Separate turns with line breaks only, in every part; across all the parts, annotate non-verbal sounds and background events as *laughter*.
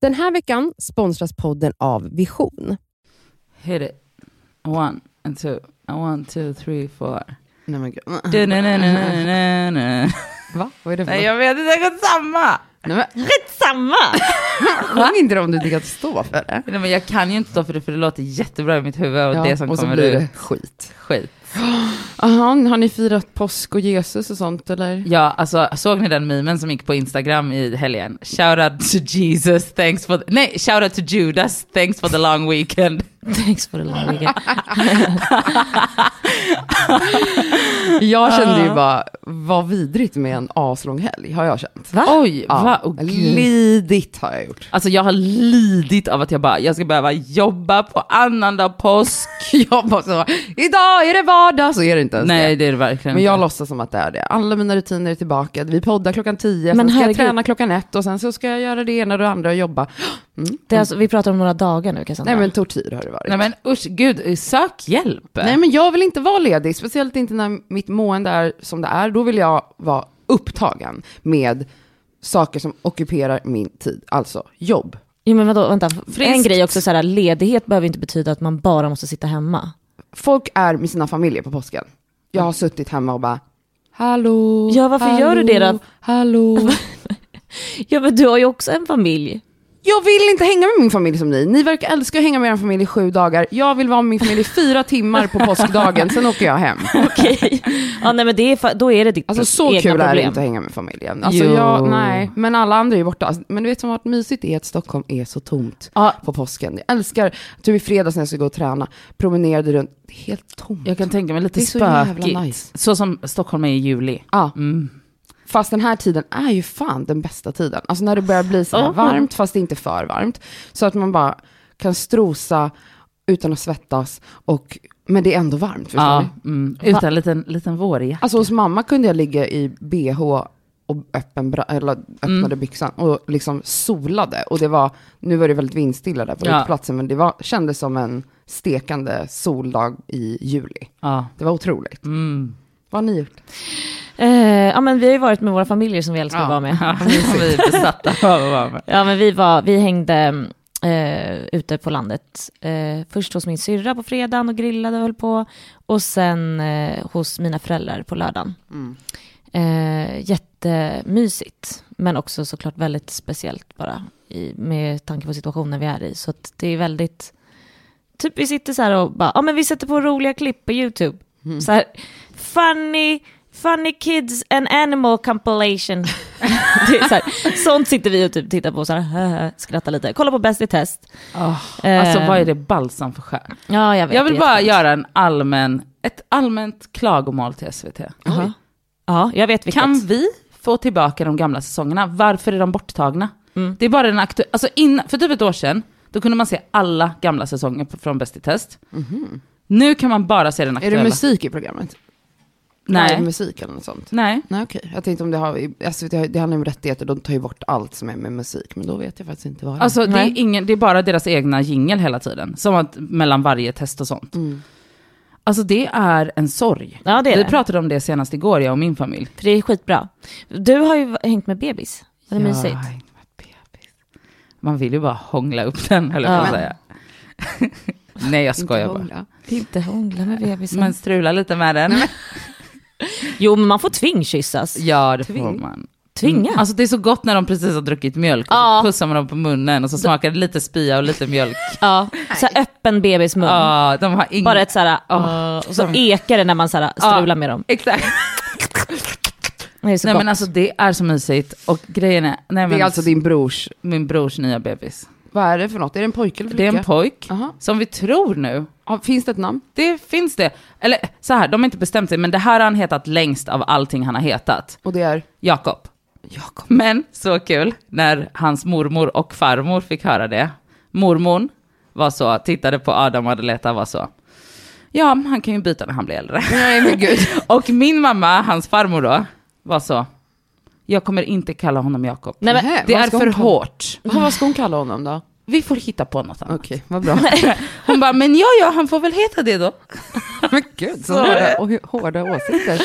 Den här veckan sponsras podden av Vision.
Hit it. One and two. One, two, three, four.
*laughs* Nej men gud.
Du, nu, nu, nu, nu, nu, nu.
Va? Vad är det för
Nej, jag vet inte. Jag samma.
Nej, *laughs* men
Samma? *laughs*
sjung inte det om du inte kan stå för det.
Nej, men jag kan ju inte stå för det, för det låter jättebra i mitt huvud och
Ja,
det som
och så
kommer
blir
ut.
det skit.
Skit.
Aha, har ni firat påsk och Jesus och sånt eller?
Ja, alltså såg ni den memen som gick på Instagram i helgen? Shout out to Jesus, thanks for... The... Nej, shout out to Judas, thanks for the
*laughs*
long weekend.
Thanks for the long weekend.
Jag kände ju bara, vad vidrigt med en aslång helg har jag känt.
Va? Oj,
Ja,
va? Åh, gud.
Lidit har jag gjort. *laughs*
*laughs* Alltså jag har lidit av att jag bara, jag ska behöva jobba på annandag påsk.
Jag bara så, idag är det vardag, så är det inte ens
Nej,
det.
det är det verkligen
Men jag
inte.
låtsas som att det är det. Alla mina rutiner är tillbaka. Vi poddar klockan tio,
Men
sen ska jag
herregud.
träna klockan ett och sen så ska jag göra det ena och det andra och jobba. Mm.
Det är alltså, vi pratar om några dagar nu Cassandra.
Nej men tortyr har det varit.
Nej men usch, gud, sök hjälp.
Nej men jag vill inte vara ledig, speciellt inte när mitt mående är som det är. Då vill jag vara upptagen med saker som ockuperar min tid, alltså jobb.
Jo men vadå, vänta. En
Friskt.
grej också, så här, ledighet behöver inte betyda att man bara måste sitta hemma.
Folk är med sina familjer på påsken. Jag har suttit hemma och bara, hallå,
Ja, varför
hallå,
gör du det då? *laughs*
Hallå.
Ja men du har ju också en familj. *laughs*
Jag vill inte hänga med min familj som ni. Ni verkar älska att hänga med er familj i sju dagar. Jag vill vara med min familj i fyra timmar på påskdagen, sen åker jag hem.
Okej. Ja nej men det är, fa- då är det ditt
Alltså så
egna
kul
problem.
är det inte att hänga med familjen. Alltså,
Jo.
jag, nej, men alla andra är ju borta. Alltså, Men du vet som varit mysigt är att Stockholm är så tomt
Ja.
på påsken. Jag älskar, typ i fredags när jag skulle gå och träna, promenerade runt, det är helt tomt.
Jag kan tänka mig lite
det är så jävla
spökigt.
nice.
Så som Stockholm är i juli.
Ja,
Mm.
fast den här tiden är ju fan den bästa tiden. Alltså när det börjar bli så här
Ja.
varmt, fast det är inte för varmt. Så att man bara kan strosa utan att svettas, och, men det är ändå varmt. Förstår
Ja,
ni?
mm. Utan en liten, liten vårjacka.
Alltså hos mamma kunde jag ligga i bh och öppen, bra- eller öppnade
Mm.
byxan och liksom solade. Och det var, nu var det väldigt vindstilla där på
Ja.
utplatsen, men det var, kändes som en stekande soldag i juli.
Ja.
Det var otroligt.
Mm.
Vad har ni gjort?
Eh, ja men vi har ju varit med våra familjer som vi älskar att vara med.
*laughs* Vi är
*laughs*
besatta av att vara med.
Ja men vi, var, vi hängde eh, ute på landet. Eh, först hos min syrra på fredagen och grillade och höll på. Och sen eh, hos mina föräldrar på lördagen. Eh, jättemysigt. Men också såklart väldigt speciellt bara. I, med tanke på situationen vi är i. Så att det är väldigt... Typ vi sitter så här och bara, ja men vi sätter på roliga klipp på YouTube.
Mm.
Så här, funny, funny kids and animal compilation. *laughs* det är så här, sånt sitter vi och typ tittar på, så här, skrattar lite. Kolla på Bäst i test.
Ah.
Alltså
Eh,
vad är det
Ehm.
balsam för själ?
Ja, jag vet.
Jag vill
det är
bara
jättebra.
göra en allmän, ett allmänt klagomål till SVT.
Jaha. Ja, jag vet vilket.
Kan vi få tillbaka de gamla säsongerna? Varför är de borttagna? Det är bara den aktuella, alltså innan, för typ ett år sedan, då kunde man se alla gamla säsonger på- från Bäst i test. Nu kan man bara se den
Är
aktuella.
det musik i programmet?
Nej.
Musik eller något sånt?
Nej.
Nej okej, jag tänkte om det har, SVT, har- det handlar om rättigheter, de tar ju bort allt som är med musik, men då vet jag faktiskt inte vad det är.
Alltså det är,
Nej.
ingen, det är bara deras egna jingel hela tiden. Som att mellan varje test och sånt.
Mm.
Alltså det är en sorg.
Ja, det är
Vi
det.
pratade om det senast igår, jag och min familj.
För det är skitbra. Du har ju hängt med bebis. Var det mysigt?
Man vill ju bara hångla upp den, höll jag på att
Ja.
säga. *laughs* Nej, jag
Inte
skojar bara.
hångla.
Inte hångla med bebisen.
Men strula lite med den.
Jo, men man får tvingkyssas.
Ja, det får man.
Tvinga.
Mm. Alltså det är så gott när de precis har druckit mjölk. Och
Ja.
så pussar man dem på munnen och så smakar det lite spya och lite mjölk.
Ja, så här öppen bebismun.
Ja, de har ingen...
Bara ett så här,
Ja.
och så ekar det när man så här strular med dem.
Exakt.
Det är *laughs* så
Nej
gott.
men alltså det är så mysigt. Och grejen är... Nej, men
det är alltså din brors,
Min brors nya bebis.
vad är det för något? Är det en pojke eller
Det
flicka?
är en pojk.
Aha.
Som vi tror nu.
Ja, Finns det ett namn?
Det finns det. Eller så här, de har inte bestämt sig, men det här har han hetat längst av allting han har hetat.
Och det är?
Jakob. Jakob. Men så kul när hans mormor och farmor fick höra det. Mormon var så, tittade på Adam och Adeleta var så. Ja, han kan ju byta när han
*laughs*
blir äldre.
Nej men gud.
Och min mamma, hans farmor då, var så. Jag kommer inte kalla honom Jakob.
Nej, men,
Nej,
Det
vad
är
ska
för
hon kalla-
hårt.
Ja, vad ska hon kalla honom då?
Vi får hitta på något annat.
Okej, vad bra.
Hon bara, men ja, ja, han får väl heta det då.
*laughs* Men gud, så hårda, och hur- hårda åsikter.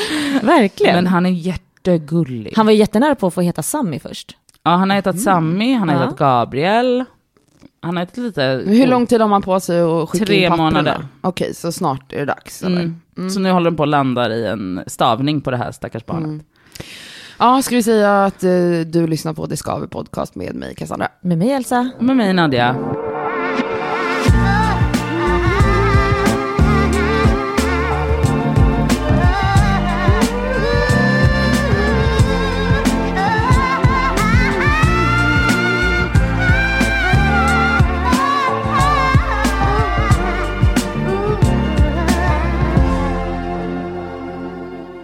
verkligen.
Men han är jättegullig.
han var ju jättenära på att få heta Sammy först.
Ja, han har hetat
Mm.
Sammy, han har
Ja.
hetat Gabriel. Han har hetat lite...
Hur lång tid har man på sig att skicka
Tre
in papperna?
månader.
Okej, så snart är det dags. Eller?
Mm. Så nu håller de på att landa i en stavning på det här stackars barnet.
Ja, ska vi säga att eh, du lyssnar på Det Skaver Podcast med mig, Cassandra.
Med mig Elsa.
Med mig Nadia.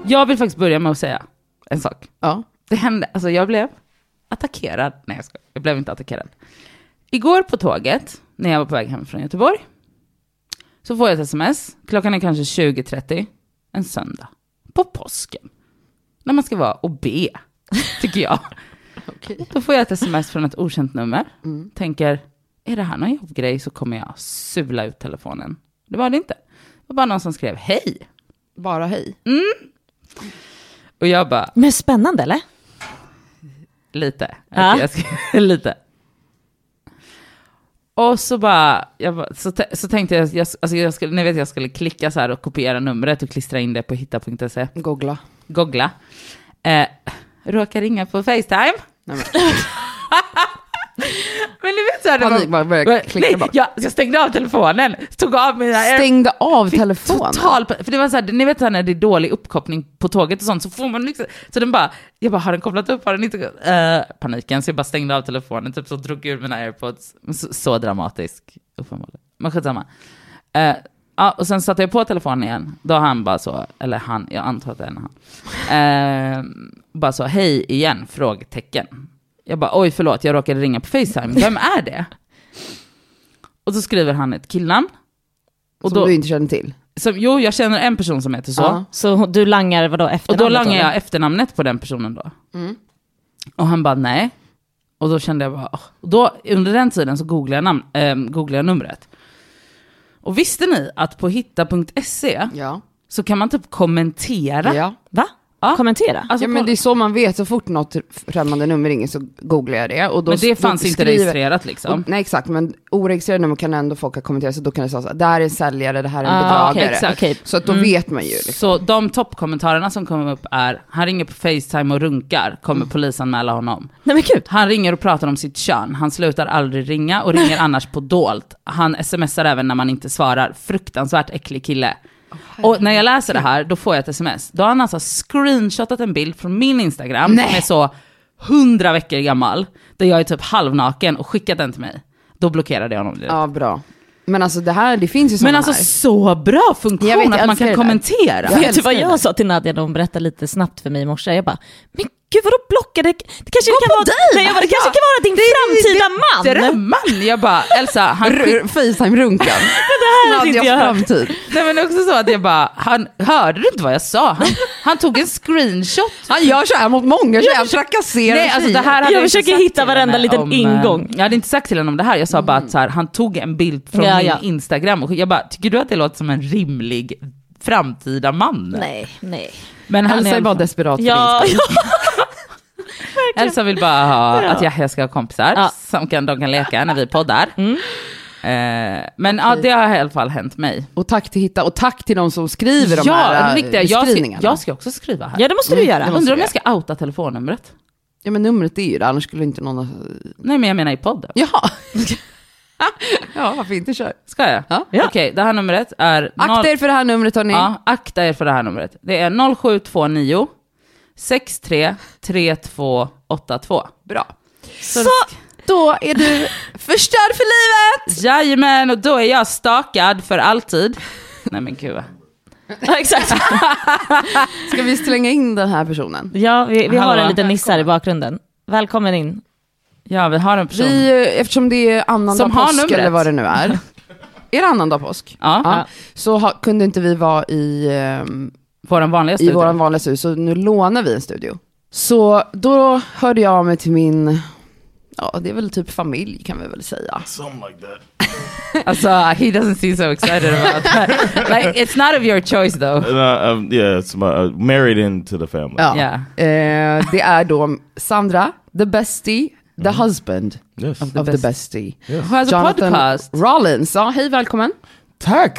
Jag vill faktiskt börja med att säga en sak.
Ja.
Det hände, alltså jag blev attackerad. Nej jag skojar, jag blev inte attackerad. Igår på tåget, när jag var på väg hem från Göteborg, så får jag ett sms. Klockan är kanske 20.30, en söndag, på påsken. När man ska vara och be, tycker *laughs* jag. Då får jag ett sms från ett okänt nummer. Tänker, är det här någon jobbgrej så kommer jag sula ut telefonen. Det var det inte. Det var bara någon som skrev hej.
Bara hej.
Och jag bara,
Men spännande eller?
Lite.
Ja.
Okej, Jag ska, *laughs* lite. Och så bara, jag bara så, tä- så tänkte jag, jag, alltså jag skulle, ni vet jag skulle klicka så här och kopiera numret och klistra in det på hitta.se,
Googla.
googla. Eh, råkar ringa på Facetime.
Nej,
*laughs* Men du vet så här, det
Panik, bara börja
var-
klicka
nej,
bara.
jag, jag stängde av telefonen, tog av mina
Stängde av
Fick
telefonen.
Total, pa- för det var så här, ni vet så här när det är dålig uppkoppling på tåget och sånt så får man liksom, så den bara, jag bara har den kopplat upp, har den inte, eh, paniken, så jag bara stängde av telefonen, typ så drog ur mina airpods. Men Så, så dramatisk, uppenbarligen. Men skitsamma. Eh, Ja, och sen satte jag på telefonen igen. Då han bara så, eller han, jag antar att det är en han. Eh, bara så, hej igen? Frågetecken. Jag bara, oj förlåt, jag råkade ringa på Facetime. Vem är det? Och så skriver han ett killnamn. Och
Som du inte känner till.
som, jo, jag känner en person som heter så.
Ja.
Så du langar vadå
Och då
efternamnet?
langar
eller?
jag efternamnet på den personen då.
Mm.
Och han bara nej. Och då kände jag bara, åh. och då, under den tiden så googlade jag, namn, ehm, googlade jag numret. Och visste ni att på hitta.se
Ja.
så kan man typ kommentera?
Ja.
Va?
Ja.
Kommentera?
Alltså,
ja, men
kolla-
det är så man vet. Så fort något främmande nummer ringer så googlar jag det. Och då,
men det
då
fanns inte
skriver-
registrerat liksom.
Och, nej exakt, men oregistrerade nummer kan ändå folk ha kommenterat, så då kan det stå så här, det här är en säljare, det här är en
Ah, okej,
bedragare.
exakt. Okej.
Så att då
Mm.
vet man ju. Liksom.
Så de toppkommentarerna som kommer upp är, han ringer på Facetime och runkar,
Mm.
kommer polisanmäla honom.
Nej men gud.
Han ringer och pratar om sitt kön. Han slutar aldrig ringa och
*laughs*
ringer annars på dolt. Han smsar även när man inte svarar. Fruktansvärt äcklig kille. och när jag läser det här, då får jag ett sms. Då har han alltså screenshotat en bild från min Instagram som är så hundra veckor gammal. Där jag är typ halvnaken och skickat den till mig. Då blockerade jag honom direkt.
Ja, bra. Men alltså det här, det finns ju sådana
Men alltså
här.
så bra funktion
Jag vet, jag
att man
älskar
kan
det där.
kommentera.
Jag
Vet du
älskar
vad
det
jag
där.
sa till Nadja när hon berättade lite snabbt för mig i morse? Jag bara, men gud vadå blockade? Det kanske
Gå
kan
på
vara,
dig!
Nej, jag bara, det kanske
Ja.
kan vara din framtida man?
Drömman! Jag bara, Elsa, han skick-
R-
*laughs*
Facetime-runkan.
hade inte
Nadias
jag hört.
framtid.
Nej men också så att jag bara, han, hörde du inte vad jag sa? Han, han tog en screenshot.
Han gör så här mot många tjejer, han trakasserar
Nej, alltså det här hade
Jag
inte
försöker
sagt
hitta
till
varenda
henne
liten
om,
ingång.
eh, Jag hade inte sagt till henne om det här, jag sa bara att så här, han tog en bild från
Ja,
min
ja.
Instagram och jag bara, tycker du att det låter som en rimlig framtida man?
Nej, nej. Alltså,
Men han
Elsa är
är
bara desperat för din
Ja,
skull.
ja.
Elsa vill bara ha
Ja.
att Yahya ska ha kompisar
Ja. Mm.
som kan, de kan leka när vi poddar. Eh, men ja, det har i alla fall hänt mig.
Och tack till Hitta, och tack till de som skriver de
Ja,
här eh,
riktiga,
riktiga,
jag, ska,
beskrivningarna.
jag ska också skriva här.
ja det måste du göra.
Undrar om jag ska outa telefonnumret?
Ja men numret är ju det, annars skulle inte någon ha...
Nej men jag menar i podden.
Jaha! *laughs* ja, varför inte köra?
Ska jag?
Ja.
Okej, det här numret är... noll-
Akta er för det här numret hörni.
Ja, akta er för det här numret. Det är 0729 633282.
Bra.
Så,
Då är du förstörd för livet!
Jajamän, och då är jag stakad
*laughs*
för alltid. Nej men gud. va.
*laughs* Ja, exakt.
Ska vi slänga in den här personen?
Ja, vi, vi har
Hallå.
en liten nisse här i bakgrunden. Välkommen in.
Ja, vi har en person.
Vi, eh, eftersom det är annandag
Som har
påsk
numret.
eller vad det nu *laughs* är. är det annandag påsk?
Ja,
Så ha, kunde inte vi vara i, ehm,
vår vanliga
i
studio.
vår vanliga studio, så nu lånar vi en studio. Så då hörde jag av mig till min, ja det är väl typ familj kan vi väl säga.
Something like that.
Alltså, he doesn't seem so excited
*laughs*
about that. like, it's not of your choice though.
And, uh,
Oh.
um, yeah, it's my, uh, married into the family.
Ja.
Yeah.
Eh, det är då Sandra, the bestie, the husband
Yes.
of Mm. the,
best-
bestie.
Yes.
Who has
Alltså,
a podcast?
Rollins, ja hej välkommen.
Tack!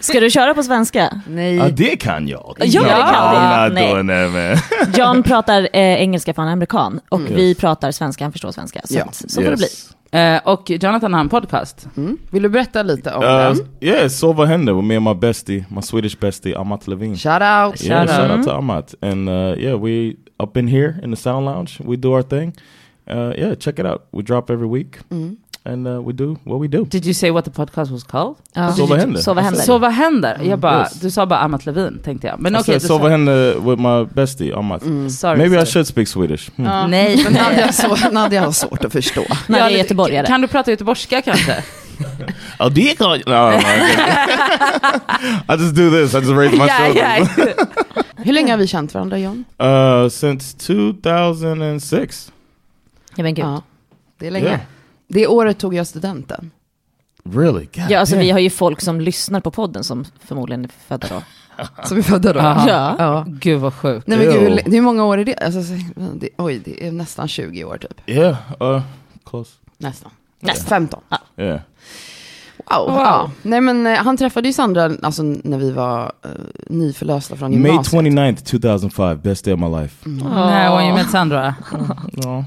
Ska du köra på svenska?
Nej.
Ja, det kan jag.
Ja, det kan du.
men
Nej.
då, nej, men.
John pratar eh, engelska för han är amerikan och vi pratar svenska, han förstår svenska. Så,
Ja.
att, så får det bli.
Yes.
Eh, och Jonathan har en podcast.
Vill du berätta lite om
Uh,
den?
yeah, so vad händer med my bestie, my Swedish bestie, Amat Levine.
Shout out.
yeah,
Shout
shout
out.
out to Amat. And uh, yeah, we up in here in the Sound Lounge. We do our thing. Uh, yeah, check it out. We drop every week, and uh, we do what we do.
Did you say what the podcast was called?
Ja.
Så vad händer?
Så vad händer?
Så vad händer? Jag bara,
Yes.
du sa bara Amat Levin tänkte jag. Men
I
okej,
said,
du
so
sa...
Alltså, vad händer with my bestie, Amat?
Sorry,
Maybe I
sorry.
should speak Swedish. Hmm.
Nej.
Men Nadja, har så, Nadja har svårt att förstå.
När
Ja,
*laughs* jag är göteborgare.
Kan du prata göteborgska kanske?
Oh, det kan... No, no, okay. *laughs* I just do this. I just raise my
Ja,
shoulders.
ja.
Hur länge har vi känt varandra John?
*laughs* Uh, since 2006.
Ja, men gud.
Ja, det är länge.
Yeah.
Det året tog jag studenten.
Really? God
Ja, alltså
damn.
vi har ju folk som lyssnar på podden som förmodligen är födda då.
Som vi födde då.
Aha.
Ja.
Ja.
Gud vad sjukt.
Nej men gud, hur
Ew.
lä- hur många år är det? Alltså, det? Oj, det är nästan 20 år typ.
Yeah, uh, close.
Nästan.
Nästan.
15.
Yeah.
Wow. Ja. Nej men eh, han träffade ju Sandra alltså, när vi var eh, nyförlösta från
May
gymnasiet.
29th, 2005. Best day of my life.
Mm.
Mm. Nej, when you met Sandra.
No.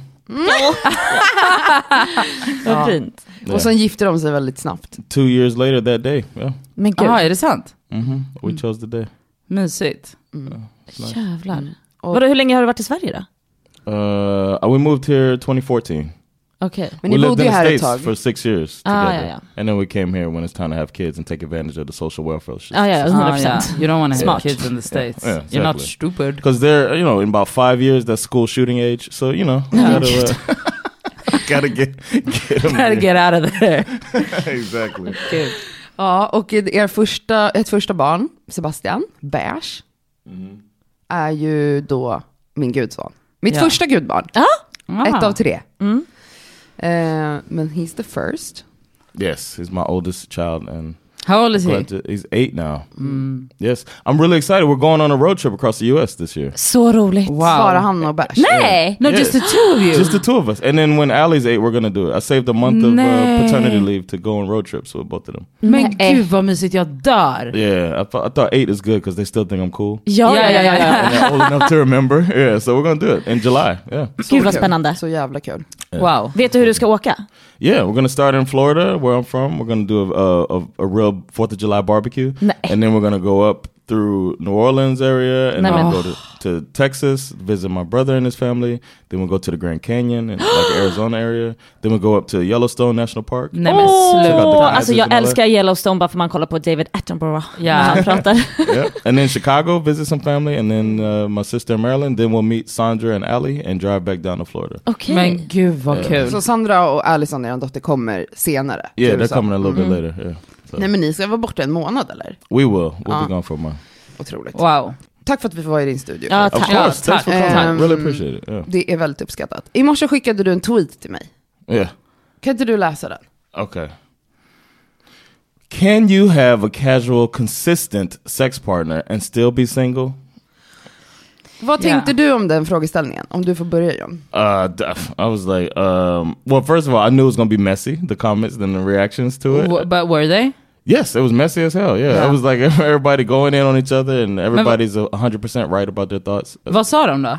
Vad fint.
Yeah.
Och sen gifte de sig väldigt snabbt.
Two years later that day. Yeah.
Men gud,
Jaha, är det sant?
hmm We
Mm.
chose the day.
Mysigt.
Mm.
jävlar.
Och-
Vadå, hur länge har du varit i Sverige då?
Uh, we moved here 2014.
Okej.
Men
we
ni
lived
bodde
in
ju
the
här ett
States
tag.
for six years
Ah,
together.
yeah, yeah.
And then we came here when it's time to have kids and take advantage of the social welfare shit.
Ja, ja, ja, 100%.
Ah, ja. You don't wanna have
Smart.
kids in the States.
Yeah,
You're not
exactly.
stupid.
Because they're, you know, in about five years, that's school shooting age. So, you know, gotta, uh,
*laughs*
gotta get, get them
Gotta get out of there.
*laughs* exactly.
Gud.
Ja, och er första, ett första barn, Sebastian, beige, är ju då min gudson. Mitt
Ja.
första gudbarn,
Ah.
ett av tre. Eh, men he's the first.
Yes, he's my oldest child, and
How old is he? Mm.
glad to- he's eight now. Yes, I'm really excited. We're going on a road trip across the U.S. this year.
Så roligt.
Bara han och beige.
Nej!
No, just the two of you.
Just the two of us, and then when Allie's eight, we're gonna do it. I saved a month of
Nay.
uh, paternity leave to go on road trips with both of them.
Men gud vad mysigt, jag dör.
Yeah, I, thought I thought eight is good because they still think I'm cool.
Ja, ja, ja. ja,
and they're old enough
*laughs*
to remember. Yeah, so we're gonna do it in July. Yeah,
Gud
kul.
vad spännande.
Så jävla kul.
Wow.
Vet du hur du ska åka?
yeah, we're gonna start in Florida, where I'm from. We're gonna do a a, a real Fourth of July barbecue,
Nay.
and then we're gonna go up through New Orleans area, and
Nay,
then
man.
we'll go to, to Texas, visit my brother and his family. Then we'll go to the Grand Canyon and like Arizona area. Then we'll go up to Yellowstone National Park.
Nej men
eh.
Sluta.
Åh,
sluta.
alltså jag älskar Yellowstone bara för man kollar på David Attenborough
Ja.
när han pratar.
yeah. And then Chicago, visit some family, and then uh, my sister in Maryland. Then we'll meet Sandra and Allie and drive back down to Florida.
Okej.
Men gud vad kul.
Så Sandra och Alison, er dotter, kommer senare.
Yeah,
till
they're
USA.
coming a little bit later. Yeah, so
Nej men ni ska vara borta en månad eller?
we will. We'll
Ah.
be gone for a month.
Otroligt.
Wow.
Tack för att vi får vara i din studio.
Ja,
Of
tack.
Ja,
course, thanks for
tack.
coming.
Ehm,
really appreciate it. Yeah.
Det är väldigt uppskattat. I morse skickade du en tweet till mig.
yeah.
Kan inte du läsa den?
Okay. Can you have a casual, consistent sex partner and still be single?
Vad
Ja.
tänkte du om den frågeställningen? Om du får börja John.
Uh, duff. I was like, um, well, first of all, I knew it was gonna be messy. The comments and the reactions to it.
W- But were they?
Yes, it was messy as hell. Yeah,
Yeah.
it was like *laughs* everybody going in on each other, and everybody's hundred percent right about their thoughts.
Vad sa de då?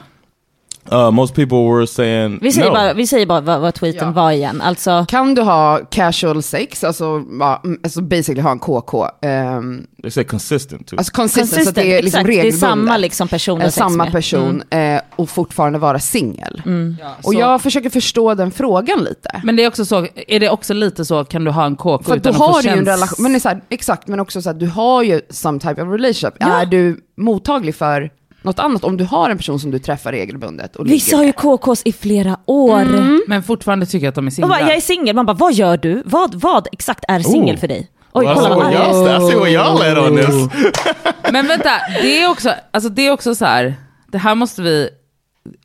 Uh, most people were saying
Vi säger,
no.
bara, vi säger bara vad, vad tweeten
Ja.
var igen. Alltså,
Kan du ha casual sex, alltså, ja, mm, alltså basically ha en KK? Um,
They said consistent too.
alltså consistent, så
consistent,
att det är liksom
exakt, det är
regelbundet.
samma liksom person
Eh,
du har sex
samma
med.
person eh, och fortfarande vara singel.
Mm,
Och
Så-
jag försöker förstå den frågan lite.
Men det är också så, är det också lite så, kan du ha en KK
För att då
utan att
har
få
du ju en
käns-
relation, men det är så här, exakt, men också så här, du har ju some type of relationship. Är du mottaglig för något annat om du har en person som du träffar regelbundet? Och
Vissa
ligger
har ju
med?
KKs i flera år.
Men fortfarande tycker jag att de är
Och
singlar.
bara, jag är singel, man bara vad gör du? Vad, vad exakt är singel
Oh.
för dig? Oj,
Well, I, see
kolla
what
vad
y'all, I see what y'all at on this.
Men vänta, det är också, alltså det är också så här, det här måste vi,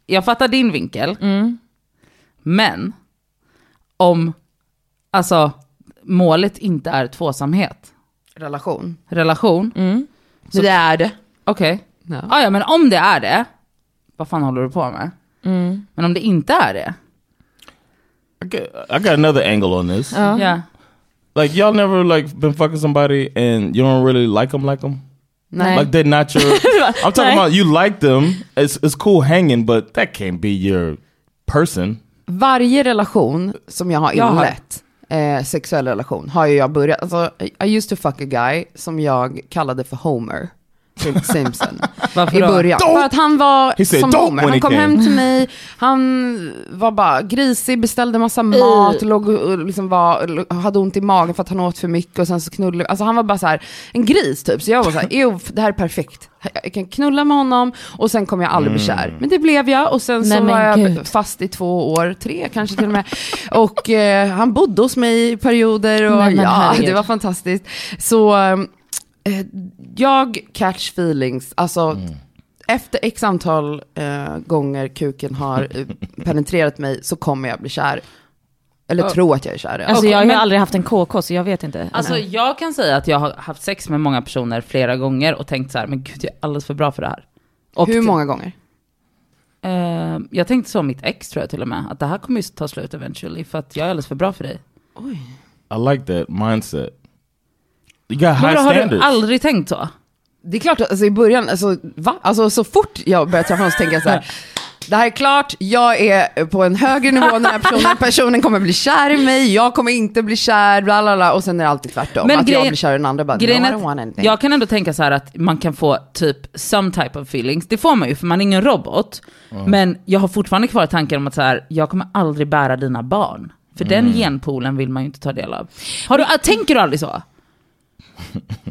jag fattar din vinkel,
Mm.
men om, alltså målet inte är tvåsamhet,
relation.
relation,
Så Mm. det är det.
okej,
Ja.
ah, ja men om det är det, vad fan håller du på med?
Mm.
Men om det inte är det,
I got, I got another angle on this.
Ja.
ja.
Like y'all never like been fucking somebody and you don't really like them like them.
Nej.
Like they're not
*laughs*
your. I'm talking
Nej.
about you like them. It's it's cool hanging, but that can't be your person.
Varje relation som jag har
Jag har-
inlett, eh, sexuell relation, har ju jag börjat, alltså I- I used to fuck a guy som jag kallade för Homer.
*laughs*
Sim- Simpson.
Varför
I
då?
början.
Don't-
För att han var
He said
som
don't
Homer.
when
Han
he
kom
came.
hem till mig, han var bara grisig, beställde massa mat, låg och och liksom var, hade ont i magen för att han åt för mycket och sen så knullade Alltså han var bara så här en gris typ. Så jag var så här, *laughs* jo det här är perfekt. Jag kan knulla med honom och sen kommer jag aldrig bli
Mm.
kär. Men det blev jag och sen
Nej,
så
men
var jag
gud.
fast i två år, tre kanske till och med. Och eh, han bodde hos mig i perioder och
Nej, men
ja, *laughs*
herregud.
det var fantastiskt. Så eh, jag catch feelings, alltså efter x antal eh, gånger kuken har eh, penetrerat mig så kommer jag bli kär. Eller tro att jag är kär. ja.
Alltså
Och-
jag har ju
men-
aldrig haft en KK så jag vet inte.
Alltså
Mm.
jag kan säga att jag har haft sex med många personer flera gånger och tänkt så här, men gud jag är alldeles för bra för det här. Och
Hur många gånger?
Eh, jag tänkte så om mitt ex tror jag till och med, att det här kommer ju ta slut eventually för att jag är alldeles för bra för dig.
I like that mindset. You got high
Men har du
standards. *laughs*
aldrig tänkt så?
Det är klart, alltså, i början, alltså, va? Alltså, så fort jag började träffa honom så tänkte jag så
*laughs*
här, det här är klart, jag är på en högre nivå än den här
*laughs*
personen, personen kommer bli kär i mig, jag kommer inte bli kär, bla bla bla, och sen är det alltid tvärtom.
Men
att jag
grejen-
blir kär i den andra, bara, no, I
Grejen
don't want
är att
anything.
jag kan ändå tänka så här att man kan få typ some type of feelings. Det får man ju för man är ingen robot. Men jag har fortfarande kvar tanken om att så här, jag kommer aldrig bära dina barn. För den genpoolen vill man ju inte ta del av. Har du, tänker du aldrig så?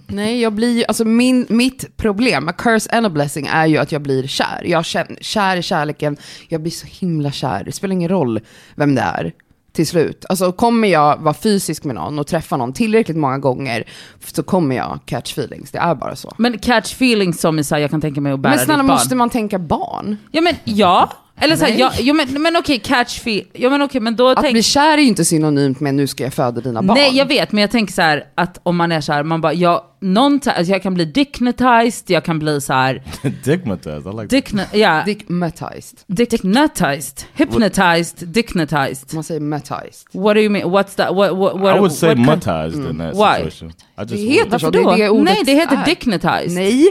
Nej, jag blir ju, alltså min, mitt problem, a curse and a blessing, är ju att jag blir kär. Jag känner, kär i kärleken, jag blir så himla kär. Det spelar ingen roll vem det är till slut. Alltså kommer jag vara fysisk med någon och träffa någon tillräckligt många gånger så kommer jag catch feelings, det är bara så.
Men catch feelings som i så här, jag kan tänka mig att bära
Men snälla
ditt barn.
måste man tänka barn?
Ja men ja. Eller så här, ja, jo, men, men okej catch feelings. Ja men okej men då
Att
tänk,
bli kär är ju inte synonymt med nu ska jag föda dina barn.
Nej jag vet men jag tänker så här att om man är så här, man bara, jag, någon, ta- alltså, jag kan bli dignitized, jag kan bli så här,
Digmatized. I like that.
digni, ja,
Digmatized.
dignitized, hypnotized, dignitized.
Man säger matized.
What do you mean? What's that? What, what, what,
I would say
what kind- Mm.
matized in that
Why?
situation. I just
Det heter
would.
så,
Varför
det är
då?
det ordet
Nej det heter
är.
dignitized.
Nej.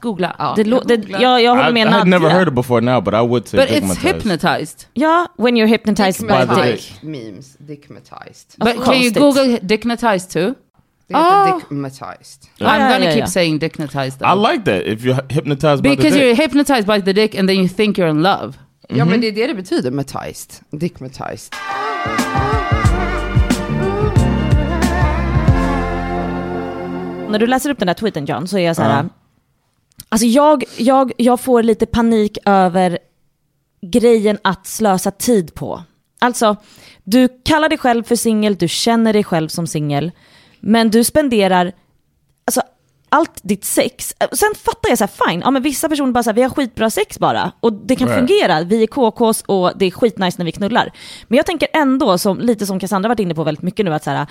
Googla.
Ja.
det lo- det, jag, jag håller
I,
med
I had
Nadja.
never heard it before now, but I would say
But it's
digmatized.
hypnotized.
Ja, when you're hypnotized by
By the
dick.
dick.
Memes, digmatized.
Varför
But can you
konstigt?
google dignitized too?
Det heter
Ah.
digmatized.
I'm
ja,
gonna
ja,
keep
ja.
saying dignitized. though.
I like that. If you're hypnotized by the
Because
dick.
you're hypnotized by the dick and then you think you're in love.
Ja
Mhm.
men det är det det betyder, matized. Digmatized.
När du läser upp den där tweeten John så är jag så här. Alltså jag, jag, jag får lite panik över grejen att slösa tid på. Alltså, du kallar dig själv för singel, du känner dig själv som singel, men du spenderar alltså, allt ditt sex. Eh, Sen fattar jag så här, fine, ja, men vissa personer bara så här, vi har skitbra sex bara och det kan
Right.
fungera, vi är KKs och det är skitnice när vi knullar. Men jag tänker ändå, som, lite som Cassandra varit inne på väldigt mycket nu, att så här,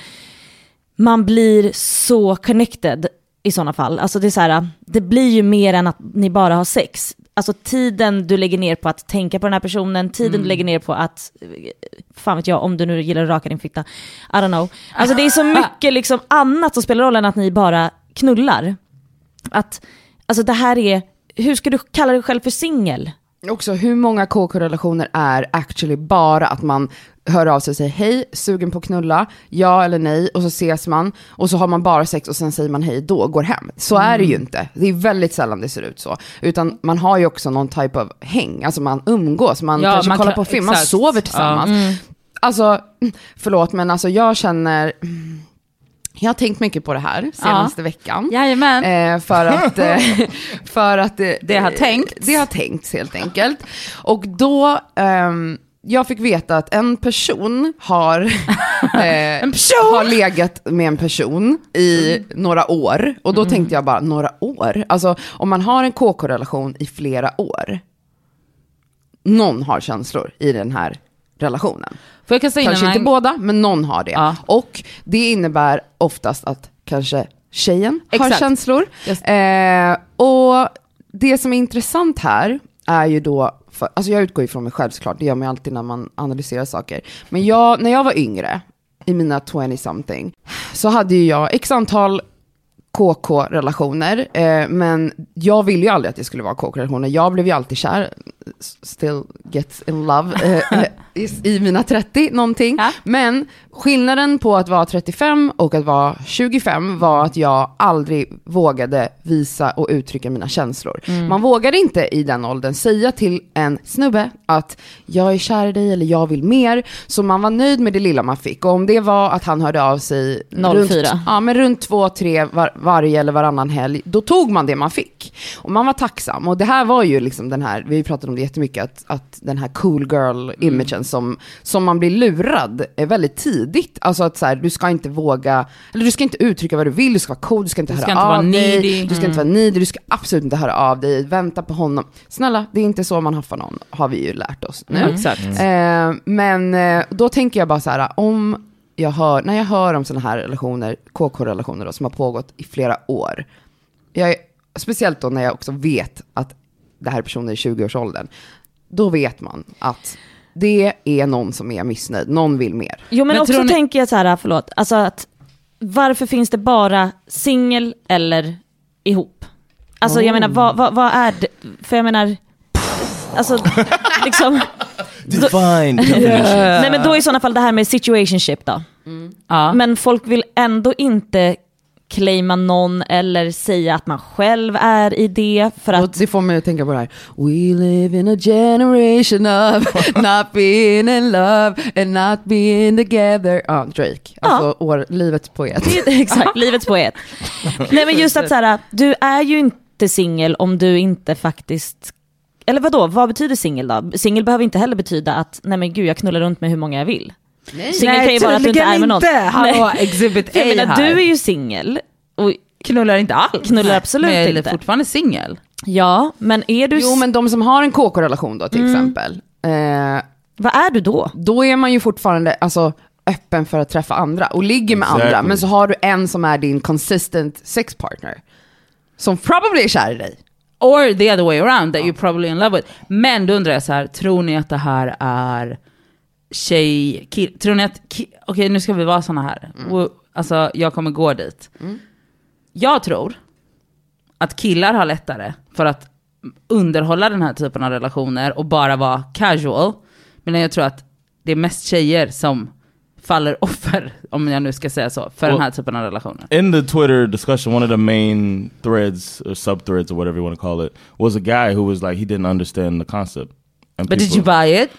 man blir så connected i sådana fall. Alltså det, är så här, det blir ju mer än att ni bara har sex. Alltså tiden du lägger ner på att tänka på den här personen, tiden du lägger ner på att, eh, fan vet jag, om du nu gillar att raka din fitta, I don't know. Alltså det är så mycket liksom annat som spelar roll än att ni bara knullar. Att, alltså det här är, hur ska du kalla dig själv för singel?
Också hur många KK-relationer är actually bara att man hör av sig och säger hej, sugen på att knulla, ja eller nej, och så ses man, och så har man bara sex och sen säger man hej då, och går hem. Så är det ju
Mm.
inte. Det är väldigt sällan det ser ut så. Utan man har ju också någon type av häng, alltså man umgås, man
Ja,
kanske
man
kollar
kan-
på film, man
exakt.
sover
Ja. mm.
tillsammans. Alltså, förlåt men alltså jag känner, jag har tänkt mycket på det här senaste veckan.
Jajamän.
Eh, för
*laughs*
att, eh, för att eh,
Det har tänkts.
Det har tänkts helt enkelt. Och då, ehm, jag fick veta att en person
*laughs*
har, eh, har legat med en person i
Mm.
några år. Och då tänkte jag bara, några år? Alltså om man har en KK-relation i flera år, någon har känslor i den här relationen.
Får jag kasta in
Kanske
en
inte båda, men någon har det.
Ja.
Och det innebär oftast att kanske tjejen har
Exakt.
känslor.
Just.
Eh, och det som är intressant här är ju då för, alltså jag utgår ifrån mig själv såklart, det gör man ju alltid när man analyserar saker. Men jag, när jag var yngre, i mina 20 something, så hade ju jag x antal KK-relationer, eh, men jag ville ju aldrig att det skulle vara KK-relationer. Jag blev ju alltid kär, still gets in love, eh, eh, i, i mina 30 någonting.
Ja.
Men skillnaden på att vara 35 och att vara 25 var att jag aldrig vågade visa och uttrycka mina känslor. Man vågade inte i den åldern säga till en snubbe att jag är kär i dig eller jag vill mer. Så man var nöjd med det lilla man fick. Och om det var att han hörde av sig
04.
Runt, ja, men runt två, tre var, varje eller varannan helg, då tog man det man fick. Och man var tacksam. Och det här var ju liksom den här, vi har ju pratat om det jättemycket, att, att den här cool
Mm.
girl-imagen som, som man blir lurad eh, väldigt tidigt. Alltså att så här, du ska inte våga, eller du ska inte uttrycka vad du vill, du ska vara cool, du ska inte
Du
höra
ska inte vara
av dig,
needy. Mm.
du ska inte vara needy, du ska absolut inte höra av dig, vänta på honom. Snälla, det är inte så man haffar någon, har vi ju lärt oss nu.
Exakt.
Eh, men eh, då tänker jag bara så här, om jag hör, när jag hör om sådana här relationer, KK-relationer då, som har pågått i flera år. Jag är, speciellt då när jag också vet att det här är personer i 20-årsåldern. Då vet man att det är någon som är missnöjd, någon vill mer.
Jo men,
Men
också
tror ni-
tänker jag så här, förlåt, alltså att varför finns det bara singel eller ihop? Alltså
Oh.
jag menar, vad, vad, vad är det? För jag menar, alltså
*laughs*
liksom,
Define definition.
nej men då i sådana fall det här med situationship då.
Ja.
Men folk vill ändå inte claima någon eller säga att man själv är i det för
Och
att
det får mig att tänka på det här. We live in a generation *laughs* of not being in love and not being together. Ja, Drake. Alltså år, livets poet. *laughs*
Exakt, *laughs* livets poet. Nej men just att så här, du är ju inte singel om du inte faktiskt eller vadå, vad betyder singel då? Singel behöver inte heller betyda att nej men gud jag knullar runt med hur många jag vill. Singel kan ju vara att du inte är med någon.
Hallå,
Nej.
exhibit
För
A
jag menar,
här.
du är ju singel. Och
knullar inte alls.
Knullar absolut
men jag är
inte.
fortfarande singel.
ja, men är du,
Jo, men de som har en KK-relation då
Mm.
till exempel, eh,
vad är du då?
då är man ju fortfarande alltså, öppen för att träffa andra och ligger med
Exactly.
andra. Men så har du en som är din consistent sex partner. Som probably är kär i dig.
Or the other way around that you're probably in love with. Men då undrar jag så här, tror ni att det här är tjej, kill, tror ni att, ki, okej nu ska vi vara såna här. Och, Alltså jag kommer gå dit. Jag tror att killar har lättare för att underhålla den här typen av relationer och bara vara casual. Men jag tror att det är mest tjejer som faller offer, *laughs* om jag nu ska säga så, för
Och-
den här typen av relationer.
in the Twitter discussion, one of the main threads or subthreads or whatever you want to call it was a guy who was like he didn't understand the concept. And
But did you
people-
buy it?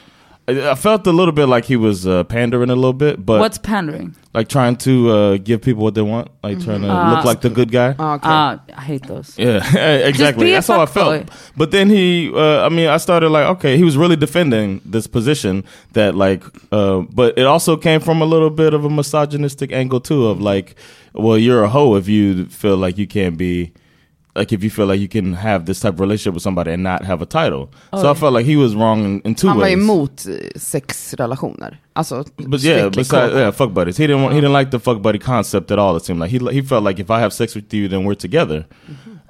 I I felt a little bit like he was uh, pandering a little bit, but
What's pandering?
like trying to uh, give people what they want, like trying to
Ah.
look like the good guy.
Ah, okej.
Ah, I hate those.
Yeah, *laughs*
be
exactly.
a
That's how I
fuckboy.
felt. But then he, uh, I mean, I started like, okay, he was really defending this position that, like, uh, but it also came from a little bit of a misogynistic angle too, of like, well, you're a hoe if you feel like you can't be, like, if you feel like you can have this type of relationship with somebody and not have a title.
Oh,
so I felt like he was wrong in, in two
Han var
ways.
emot eh, sexrelationer. Alltså,
But yeah,
strictly
besides,
KK.
yeah, fuck buddies. He didn't want, he didn't like the fuck buddy concept at all. It seemed like he he felt like if I have sex with you, then we're together.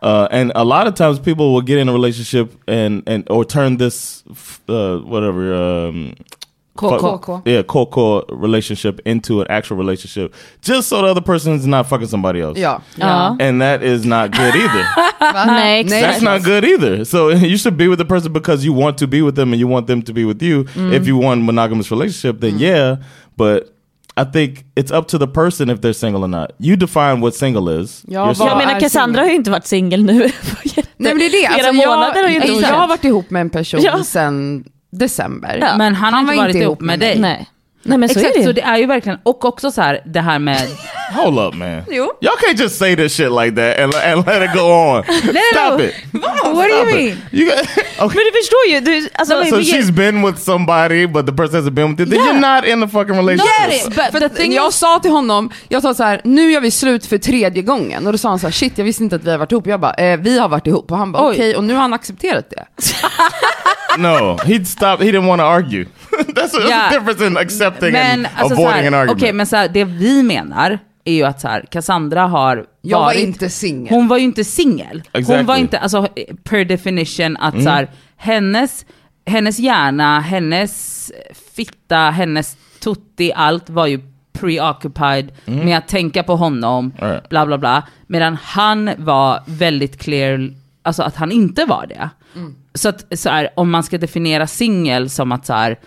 Uh, and a lot of times, people will get in a relationship and and or turn this f- uh, whatever um, fuck-
Coco.
yeah coco relationship into an actual relationship just so the other person is not fucking somebody else.
Ja.
Ja.
and that is not good either.
Va?
Nej, exakt.
That's not good either. So *laughs* you should be with the person because you want to be with them and you want them to be with you. If you want a monogamous relationship, then yeah. But I think it's up to the person if they're single or not. You define what single is.
Ja,
You're
vad-
single.
jag menar
är
Cassandra
singel?
har ju inte varit singel nu *laughs* på jätte-
Nej men det är det.
flera
Alltså,
månader har ju
jag,
inte
jag,
hon
har
känt.
varit ihop med en person
Ja.
sedan december.
Ja.
Men han, har
var
inte varit ihop med dig.
Nej. nej men så
Exakt,
är det
så
ju.
det är ju verkligen, och också så här det här med...
Hold up, man.
You?
Y'all can't just say this shit like that and, and let it go on. Stop it.
What do you mean?
You got, *laughs* okay.
Men du förstår ju, du, alltså, men,
So
vilket-
she's been with somebody, but the person hasn't been with you. Then you're not in the fucking relationship.
But
För
the
att
thing
jag
is-
sa till honom, jag sa så här, nu gör vi slut för tredje gången. Och då sa han så här, shit jag visste inte att vi har varit ihop. Jag bara, eh, vi har varit ihop. Och han bara,
Oj.
okej, och nu har han accepterat det.
*laughs* No, he stopped. He didn't want to argue. *laughs* that's a, that's
Yeah.
a difference in accepting
Men
and
alltså så
avoiding
här,
an
okej
argument.
men så här, det vi menar är ju att så här, Cassandra har
Jag var
varit,
inte singel.
Hon var ju inte singel. Hon
Exactly. Mm.
var inte, alltså per definition att så här, hennes hennes hjärna, hennes fitta, hennes tutti, allt var ju preoccupied med att tänka på honom,
Mm. Right.
bla bla bla. Medan han var väldigt clear, alltså att han inte var det.
Mm.
Så att så här, om man ska definiera singel som att så här,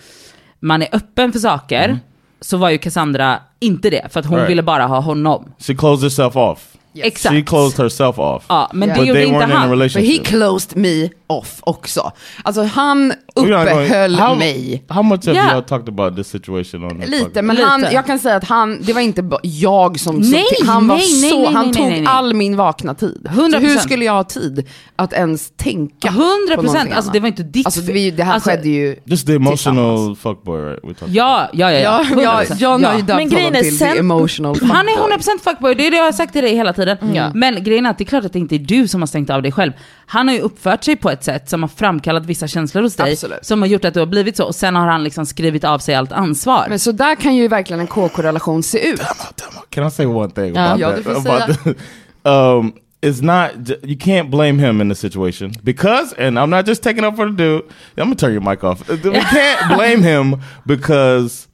man är öppen för saker, så var ju Cassandra inte det. För att hon
Right.
ville bara ha honom.
She closed herself off.
Exakt.
She closed herself off.
Ja, Ah, men
Yeah.
det
But
gjorde
they
inte
weren't in a
han.
But he
relationship.
closed me off också. Alltså han
We're not going-
uppehöll
how,
mig.
How much have
Yeah.
y'all talked about this situation on the
Lite,
podcast?
men
Lite.
Han, jag kan säga att han, det var inte bara jag som såg
Nej,
till. Han, var
nej, nej,
så,
nej,
han
nej,
tog
nej, nej.
all min vakna tid. Så
100%.
Hur skulle jag ha tid att ens tänka på
100
någonting
procent, alltså
annat?
det var inte ditt
Alltså
fel.
vi, det här
Alltså,
skedde ju...
Just the emotional fuckboy, right? We talked
Ja, ja, ja. ja.
Ja, ja,
100%.
John har ju
Ja.
Men
döpt honom
grejen är
till
sen-
the emotional
Han
fuckboy.
är 100% fuckboy, det är det jag har sagt till dig hela tiden.
Mm.
Men grejen är att det är klart att det inte är du som har stängt av dig själv. Han har ju uppfört sig på ett sätt som har framkallat vissa känslor hos dig.
Absolut.
Som har gjort att du har blivit så. Och sen har han liksom skrivit av sig allt ansvar.
Men så där kan ju verkligen en KK-relation se ut.
about. Can I say one thing
Uh,
about
Ja,
that?
du får
About the- *laughs* um, it's not j- you can't blame him in this situation because, and I'm not just taking up for the dude. I'm gonna turn your mic off.
*laughs*
We can't blame him because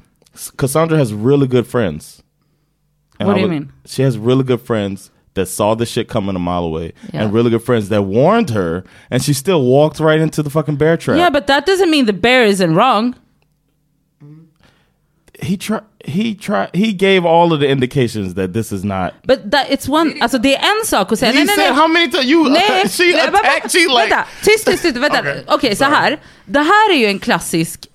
Cassandra has really good friends.
What
I
do you
would-
mean?
She has really good friends that saw the shit coming a mile away,
Yeah.
and really good friends that warned her, and she still walked right into the fucking bear trap.
yeah but that doesn't mean the bear isn't wrong.
he tried. He tried. He gave all of the indications that this is not.
But that, it's one, alltså det är en sak att säga
He
nej nej
said
nej.
how many times you
Nej,
*laughs* she
nej,
attacked you like
vänta, tyst, tyst, tyst, vänta. Okej,
Okej,
så här. Det här är ju en klassisk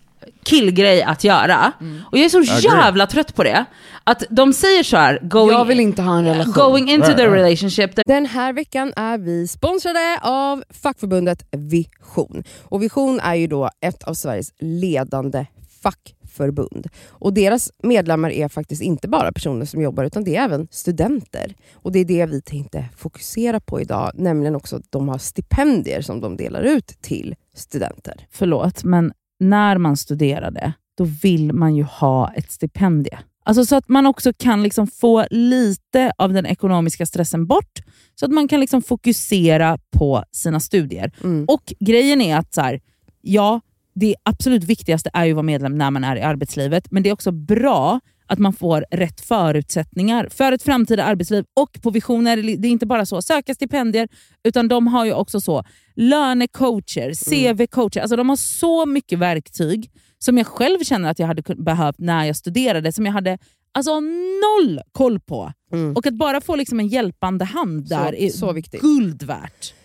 killgrej att göra. Och jag är så
Mm. agree.
jävla trött på det. Att de säger så här, going,
Jag vill inte ha en relation.
going into
Right,
the
right.
relationship,
Den här veckan är vi sponsrade av fackförbundet Vision. Och Vision är ju då ett av Sveriges ledande fackförbund. Och deras medlemmar är faktiskt inte bara personer som jobbar utan det är även studenter. Och det är det vi tänkte fokusera på idag, nämligen också att de har stipendier som de delar ut till studenter.
förlåt, men när man studerade, då vill man ju ha ett stipendium. Alltså så att man också kan liksom få lite av den ekonomiska stressen bort, så att man kan liksom fokusera på sina studier.
Mm.
Och grejen är att så här, ja, det absolut viktigaste är ju att vara medlem när man är i arbetslivet, men det är också bra att man får rätt förutsättningar för ett framtida arbetsliv. Och på visioner, det är inte bara så söka stipendier, utan de har ju också så lönecoacher,
Mm.
CV-coacher. Alltså de har så mycket verktyg som jag själv känner att jag hade kun- behövt när jag studerade, som jag hade alltså, noll koll på.
Mm.
Och att bara få liksom en hjälpande hand
Så-
där är
så viktigt.
guld värt.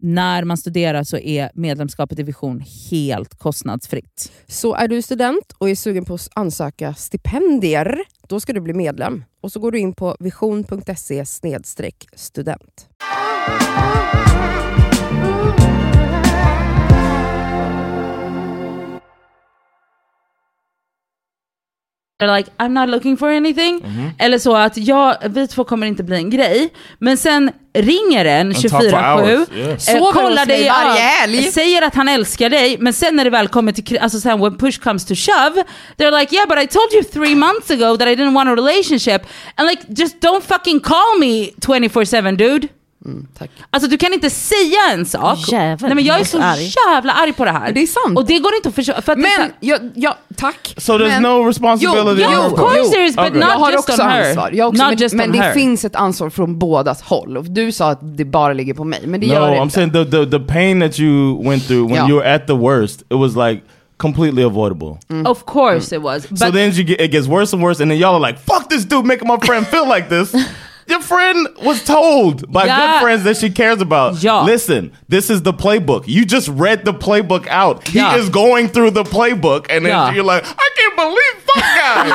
när man studerar så är medlemskapet i Vision helt kostnadsfritt.
Så är du student och är sugen på att ansöka stipendier, då ska du bli medlem. Och så går du in på vision.se snedstreck student.
They're like, I'm not looking for anything.
Mhm.
Eller så att jag, vi två kommer inte bli en grej. Men sen ringer en
talk for hours, yeah.
24-7,
Sover
kollar
hos mig
dig i
varje
ögon,
helg.
säger att han älskar dig, men sen när det väl kommer till, kri- alltså sen when push comes to shove, they're like yeah but I told you three months ago that I didn't want a relationship. And like just don't fucking call me 24-7 dude.
Mm, tack.
Alltså du kan inte säga en sak.
Jävel,
Nej, men jag är
jag är
så
så arg.
jävla arg på det här.
Det är sant.
Och det går inte att försöka. För att det är så
Men,
här-
ja, ja, tack.
So there's
men,
no responsibility.
Jo,
on
jo,
her
Of
part.
course there is, but
Okay.
not
Jag har
just
också
on her.
ansvar. Jag också,
Not
men
just
men
on
det
her.
finns ett ansvar från bådas håll. Och Du sa att det bara ligger på mig, men det gör
No,
det
I'm
inte.
saying the, the the pain that you went through when
Yeah.
you were at the worst, it was like completely avoidable.
Mm.
Of course
Mm.
it was. Mm. But
so then you get it gets worse and worse, and then y'all are like, "Fuck this dude, making my friend feel
*laughs*
like this." Your friend was told by
Yeah.
good friends that she cares about.
Yeah.
Listen, this is the playbook. You just read the playbook out. He
Yeah.
is going through the playbook, and then
Yeah.
you're like, "I can't believe fuck guys,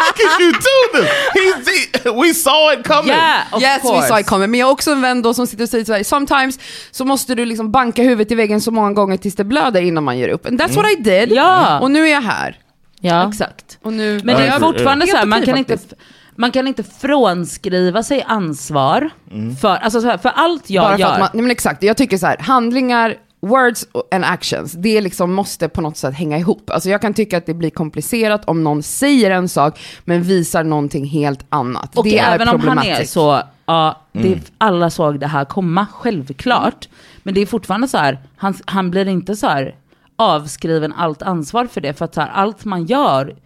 how can you do this?" He's he, we saw it coming.
yeah, of
yes,
course.
we saw it coming. Men jag har också en vän då som sitter och säger såhär, sometimes så måste du liksom
Mm.
banka huvudet i väggen så många gånger tills det blöder innan man ger upp. And that's what I did.
Ja.
Och nu är jag här.
Ja.
exakt.
Och nu,
Men det
Ja,
är
jag-
fortfarande
helt
så här, man
okej
kan, inte,
faktiskt.
man kan inte frånskriva sig ansvar för, alltså så här, för allt jag
Mm. bara för
gör.
att man, nej men exakt, jag tycker så här, handlingar, words and actions, det liksom måste på något sätt hänga ihop. Alltså jag kan tycka att det blir komplicerat om någon säger en sak men visar någonting helt annat.
Och
det är
även om han är
problematiskt. Mm.
så, ja, det, alla såg det här komma, självklart. Men det är fortfarande så här, han, han blir inte så här avskriven allt ansvar för det. För att så här, allt man gör,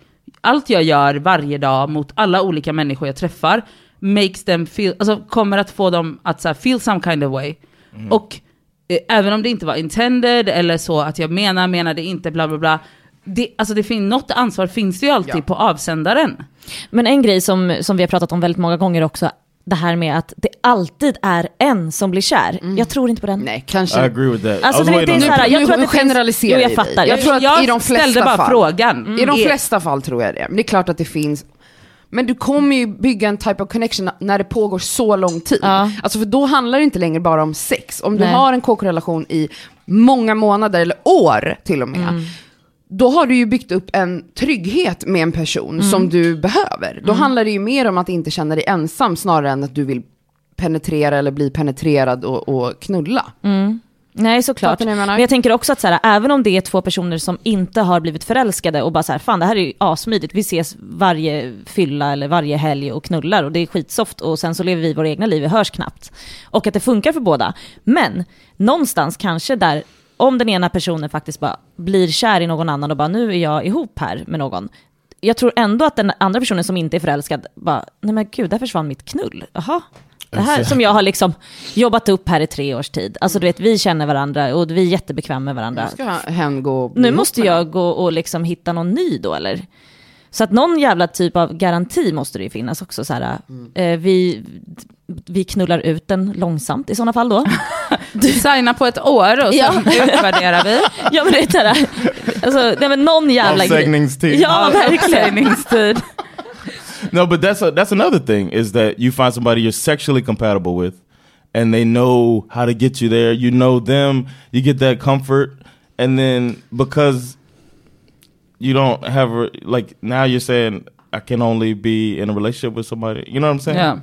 allt jag gör varje dag mot alla olika människor jag träffar, makes them feel, alltså kommer att få dem att så här, feel some kind of way.
Mm.
Och eh, även om det inte var intended eller så att jag menar, menade inte, bla bla bla. Det, alltså det fin- något ansvar finns det ju alltid
Ja.
på avsändaren.
Men en grej som, som vi har pratat om väldigt många gånger också, det här med att det alltid är en som blir kär. Jag tror inte på den.
Nej, kanske.
I agree with that. Oh,
Alltså,
I was
det-
waiting
det är
on
så här,
that.
jag
Nu
tror att det finns-
generaliserar
Jo, jag
i
fattar.
dig. Jag tror att i de flesta
ställde bara
fall-
frågan. Mm.
I
Mm,
de
Är-
flesta fall tror jag det. Men det är klart att det finns. Men du kommer ju bygga en type of connection när det pågår så lång tid.
Ja.
Alltså för då handlar det inte längre bara om sex. Om du
Nej.
har en kk-relation i många månader eller år till och med.
Mm.
Då har du ju byggt upp en trygghet med en person som
Mm.
du behöver. Då handlar det ju mer om att inte känna dig ensam snarare än att du vill penetrera eller bli penetrerad och, och knulla.
Mm. Nej såklart.
Fattar ni vad jag menar?
Men jag tänker också att så här, även om det är två personer som inte har blivit förälskade och bara så här, fan det här är ju asmydigt, vi ses varje fylla eller varje helg och knullar och det är skitsoft och sen så lever vi våra egna liv, vi hörs knappt. Och att det funkar för båda. Men någonstans kanske där, om den ena personen faktiskt bara blir kär i någon annan och bara nu är jag ihop här med någon. Jag tror ändå att den andra personen som inte är förälskad bara, nej men gud, där försvann mitt knull. Jaha, det här som jag har liksom jobbat upp här i tre års tid. Alltså du vet, vi känner varandra och vi är jättebekväma med varandra.
Ska hen gå och bli
Nu
ihop
måste
med någon?
jag gå och liksom hitta någon ny då eller? Så att någon jävla typ av garanti måste det ju finnas också. Så här,
Mm.
eh, vi, vi knullar ut den långsamt i sådana fall då. *laughs*
Designa på ett år och sen *laughs*
*laughs*
utvärderar vi.
ja men det är så här, alltså, nej, men någon jävla grej.
Avsägningstid.
Ja verkligen. *laughs*
Avsägningstid.
No, but that's a, that's another thing is that you find somebody you're sexually compatible with, and they know how to get you there. You know them. You get that comfort, and then because you don't have a- like now you're saying I can only be in a relationship with somebody. You know what I'm saying?
Ja.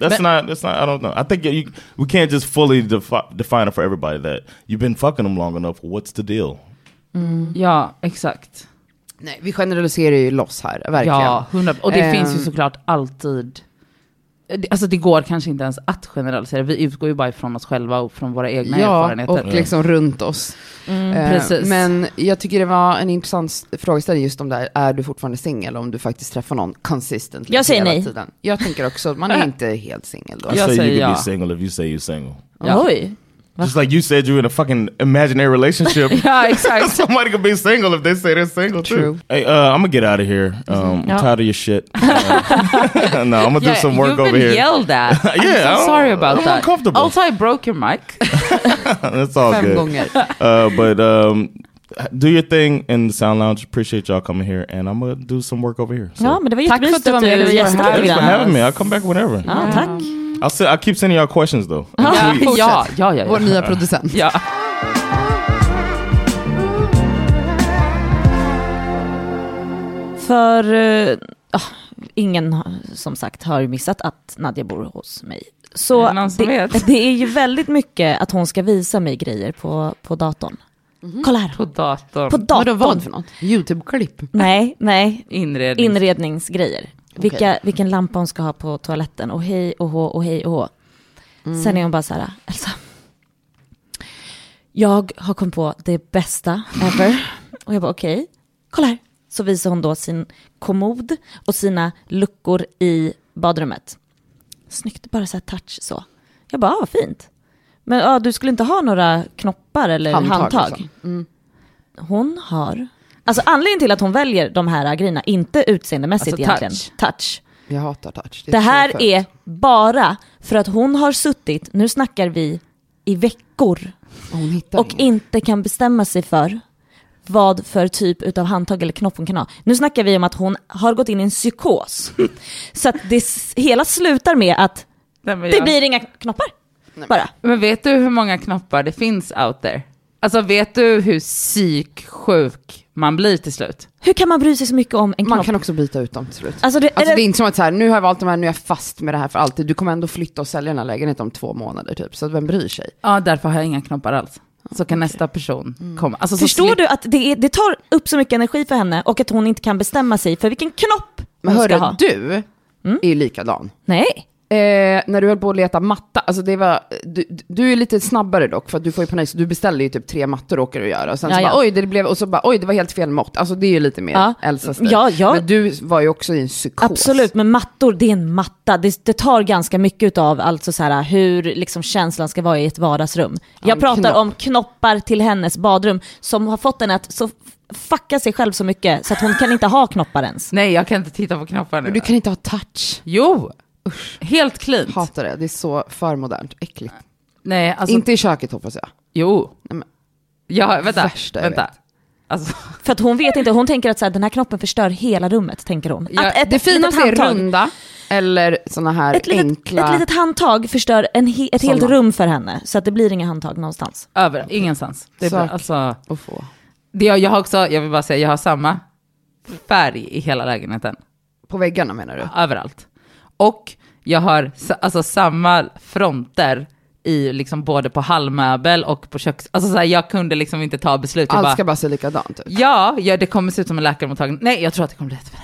That's
But-
not. That's not. I don't know. I think you, we can't just fully defi- define it for everybody. That you've been fucking them long enough. What's the deal?
ja, exakt.
Nej, vi generaliserar ju loss här, verkligen.
Ja, 100. Och det
Ehm.
finns ju såklart alltid... Alltså det går kanske inte ens att generalisera. Vi utgår ju bara ifrån oss själva och från våra egna
Ja,
erfarenheter. Mm.
och liksom runt oss.
Mm,
Eh,
precis.
Men jag tycker det var en intressant s- frågeställning just om det här, är du fortfarande singel om du faktiskt träffar någon consistently
Jag säger
hela
nej.
tiden? Jag tänker också, att man
*laughs*
är inte helt singel då.
I
Jag
say
säger
you could
ja.
be single if you say you're single.
Ja.
Oj.
Just like you said, you're in a fucking imaginary
*laughs*
relationship.
ja,
*laughs*
exakt.
*laughs* Somebody could be single if they say they're single
True.
too. Hey, uh, I'm gonna get out of here. Um, I'm
Yeah.
tired of
*laughs*
your shit. Uh, *laughs* no, I'm gonna do some work
You've
over
been
here.
*laughs*
yelled at. I'm
Yeah,
so
I'm-
sorry
oh,
about
I'm
that.
uncomfortable.
Also I broke your mic.
That's all
Fem
good.
gånger.
Uh, but um, do your thing in the Sound Lounge. Appreciate y'all coming here, and I'm gonna do some work over here. So.
Ja men det var
Tack för
jättemysigt
att du
att
var med.
du
Det var
gästade
Thanks for
programmet.
having me. I'll come back whenever.
Ja, tack.
I'll say, I keep sending y'all
*laughs*
questions though.
*laughs* ja,
fortsätt.
ja, ja, ja.
Vår nya producent.
ja.
För eh, ah, ingen har- som sagt har ju missat att Nadja bor hos mig.
Är
Så
det någon som vet?
*laughs* det är ju väldigt mycket att hon ska visa mig grejer på, på datorn.
Mhm.
Kolla här,
På datorn.
på
Vadå,
datorn.
vad för något? YouTube-klipp?
Nej, nej,
Inredning.
inredningsgrejer. Vilka, vilken lampa hon ska ha på toaletten och hej och hå och hej och hå.
Mm.
Sen är hon bara så här, Elsa. Jag har kommit på det bästa
*laughs*
ever. Och jag bara okej, kolla här. Så visar hon då sin kommod och sina luckor i badrummet. Snyggt, bara så här touch så. Jag bara, ah, vad fint. Men ah, du skulle inte ha några knoppar eller handtag?
Handtag, liksom.
Hon har... Alltså anledningen till att hon väljer de här grejerna, inte utseendemässigt
Alltså, touch.
egentligen, touch.
Jag hatar touch.
Det
är så
här
skönt.
är bara för att hon har suttit, nu snackar vi i veckor,
Hon hittar
och
ingen.
inte kan bestämma sig för vad för typ utav handtag eller knopp hon kan ha. Nu snackar vi om att hon har gått in i
*laughs*
en psykos. Så att det s- hela slutar med att
Nej, men
det
jag-
blir inga knoppar. Bara.
Men vet du hur många knoppar det finns out there? Alltså vet du hur psyksjuk man blir till slut?
Hur kan man bry sig så mycket om en
Man
knopp?
kan också byta ut dem till slut.
Alltså det,
Alltså
eller,
det är inte som att så här, nu har jag valt de här, nu är jag fast med det här för alltid. Du kommer ändå flytta och sälja den här lägenheten om två månader typ, så vem bryr sig?
Ja, därför har jag inga knoppar alls. Så kan nästa person komma. Alltså, så
förstår
slip-
du att det, är, det tar upp så mycket energi för henne och att hon inte kan bestämma sig för vilken knopp
Men
hon ska
hörru,
ha? Mm.
du är ju likadan.
Nej.
Eh, när du höll på att leta matta, alltså det var, du, du är lite snabbare dock för att du får ju panik så du beställer ju typ tre mattor och åker och gör och sen så
Ja, ja.
bara oj det blev, och så bara oj det var helt fel mått. Alltså det är ju lite mer
Ja.
Elsas
Ja, ja.
Men du var ju också i en psykos.
Absolut, men mattor det är en matta. Det, det tar ganska mycket av alltså så här, hur liksom känslan ska vara i ett vardagsrum. Jag
en
pratar
knopp.
om knoppar till hennes badrum som har fått henne att så f- fucka sig själv så mycket så att hon kan inte ha knoppar ens.
Nej, jag kan inte titta på knoppar nu.
Men du kan inte ha touch.
Jo! Helt clean.
Hatar det, det är så för modernt, äckligt.
Nej, alltså...
Inte i köket hoppas jag.
Jo.
Nej, men-
Ja, vänta.
Värsta jag
vänta.
vet.
Alltså,
För att hon vet inte, hon tänker att så här, den här knoppen förstör hela rummet, tänker hon.
Ja,
att ett,
Det finaste
litet
är
handtag-
runda eller sådana här
Ett litet,
enkla.
ett litet handtag förstör en he, ett helt
Såna.
rum för henne, så att det blir inga handtag någonstans.
över, ingenstans. Det är bra.
Sök.
Alltså,
att få.
det jag, jag har också, jag vill bara säga, jag har samma färg i hela lägenheten.
På väggarna menar
Typ
du?
Överallt. Och jag har sa- alltså samma fronter i liksom både på hallmöbel och på köks... Alltså så här, jag kunde liksom inte ta beslut. Jag
Allt
bara,
ska bara se likadant ut.
ja, ja, det kommer se ut som en läkarmottagning. Nej, jag tror att det kommer bli jättebra.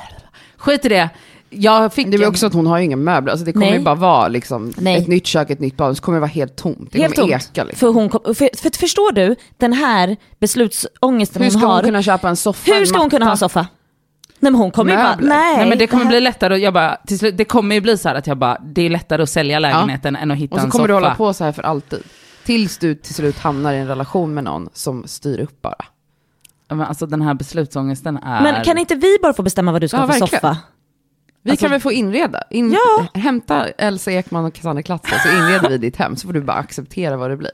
Skit i det. Jag fick
Det är väl
en-
också att hon har ju inga möbler, alltså det kommer
Nej.
ju bara vara liksom
Nej.
ett nytt kök, ett nytt badrum, så kommer det vara helt tomt. Det
Helt
kommer
tomt.
eka liksom.
För hon kom, för, för, förstår du den här beslutsångesten
Hur ska
hon har?
hon kunna köpa en soffa?
Hur
en
ska hon
matta?
kunna ha en soffa? Nej men hon kommer ju bara,
Möbler.
nej.
Nej, men det kommer
här-
bli lättare och jag bara, till slut, det kommer ju bli så här att jag bara, det är lättare att sälja lägenheten än att hitta
Och så
en
kommer
soffa.
du hålla på så här för alltid. Tills du till slut hamnar i en relation med någon som styr upp bara.
Ja, Men alltså den här beslutsångesten är...
Men kan inte vi bara få bestämma vad du ska
Ja,
ha för
verkligen.
soffa?
Vi kan väl få inreda? In,
Ja.
Hämta Elsa Ekman och Cassandra Klatzer så inreder vi ditt hem så får du bara acceptera vad det blir.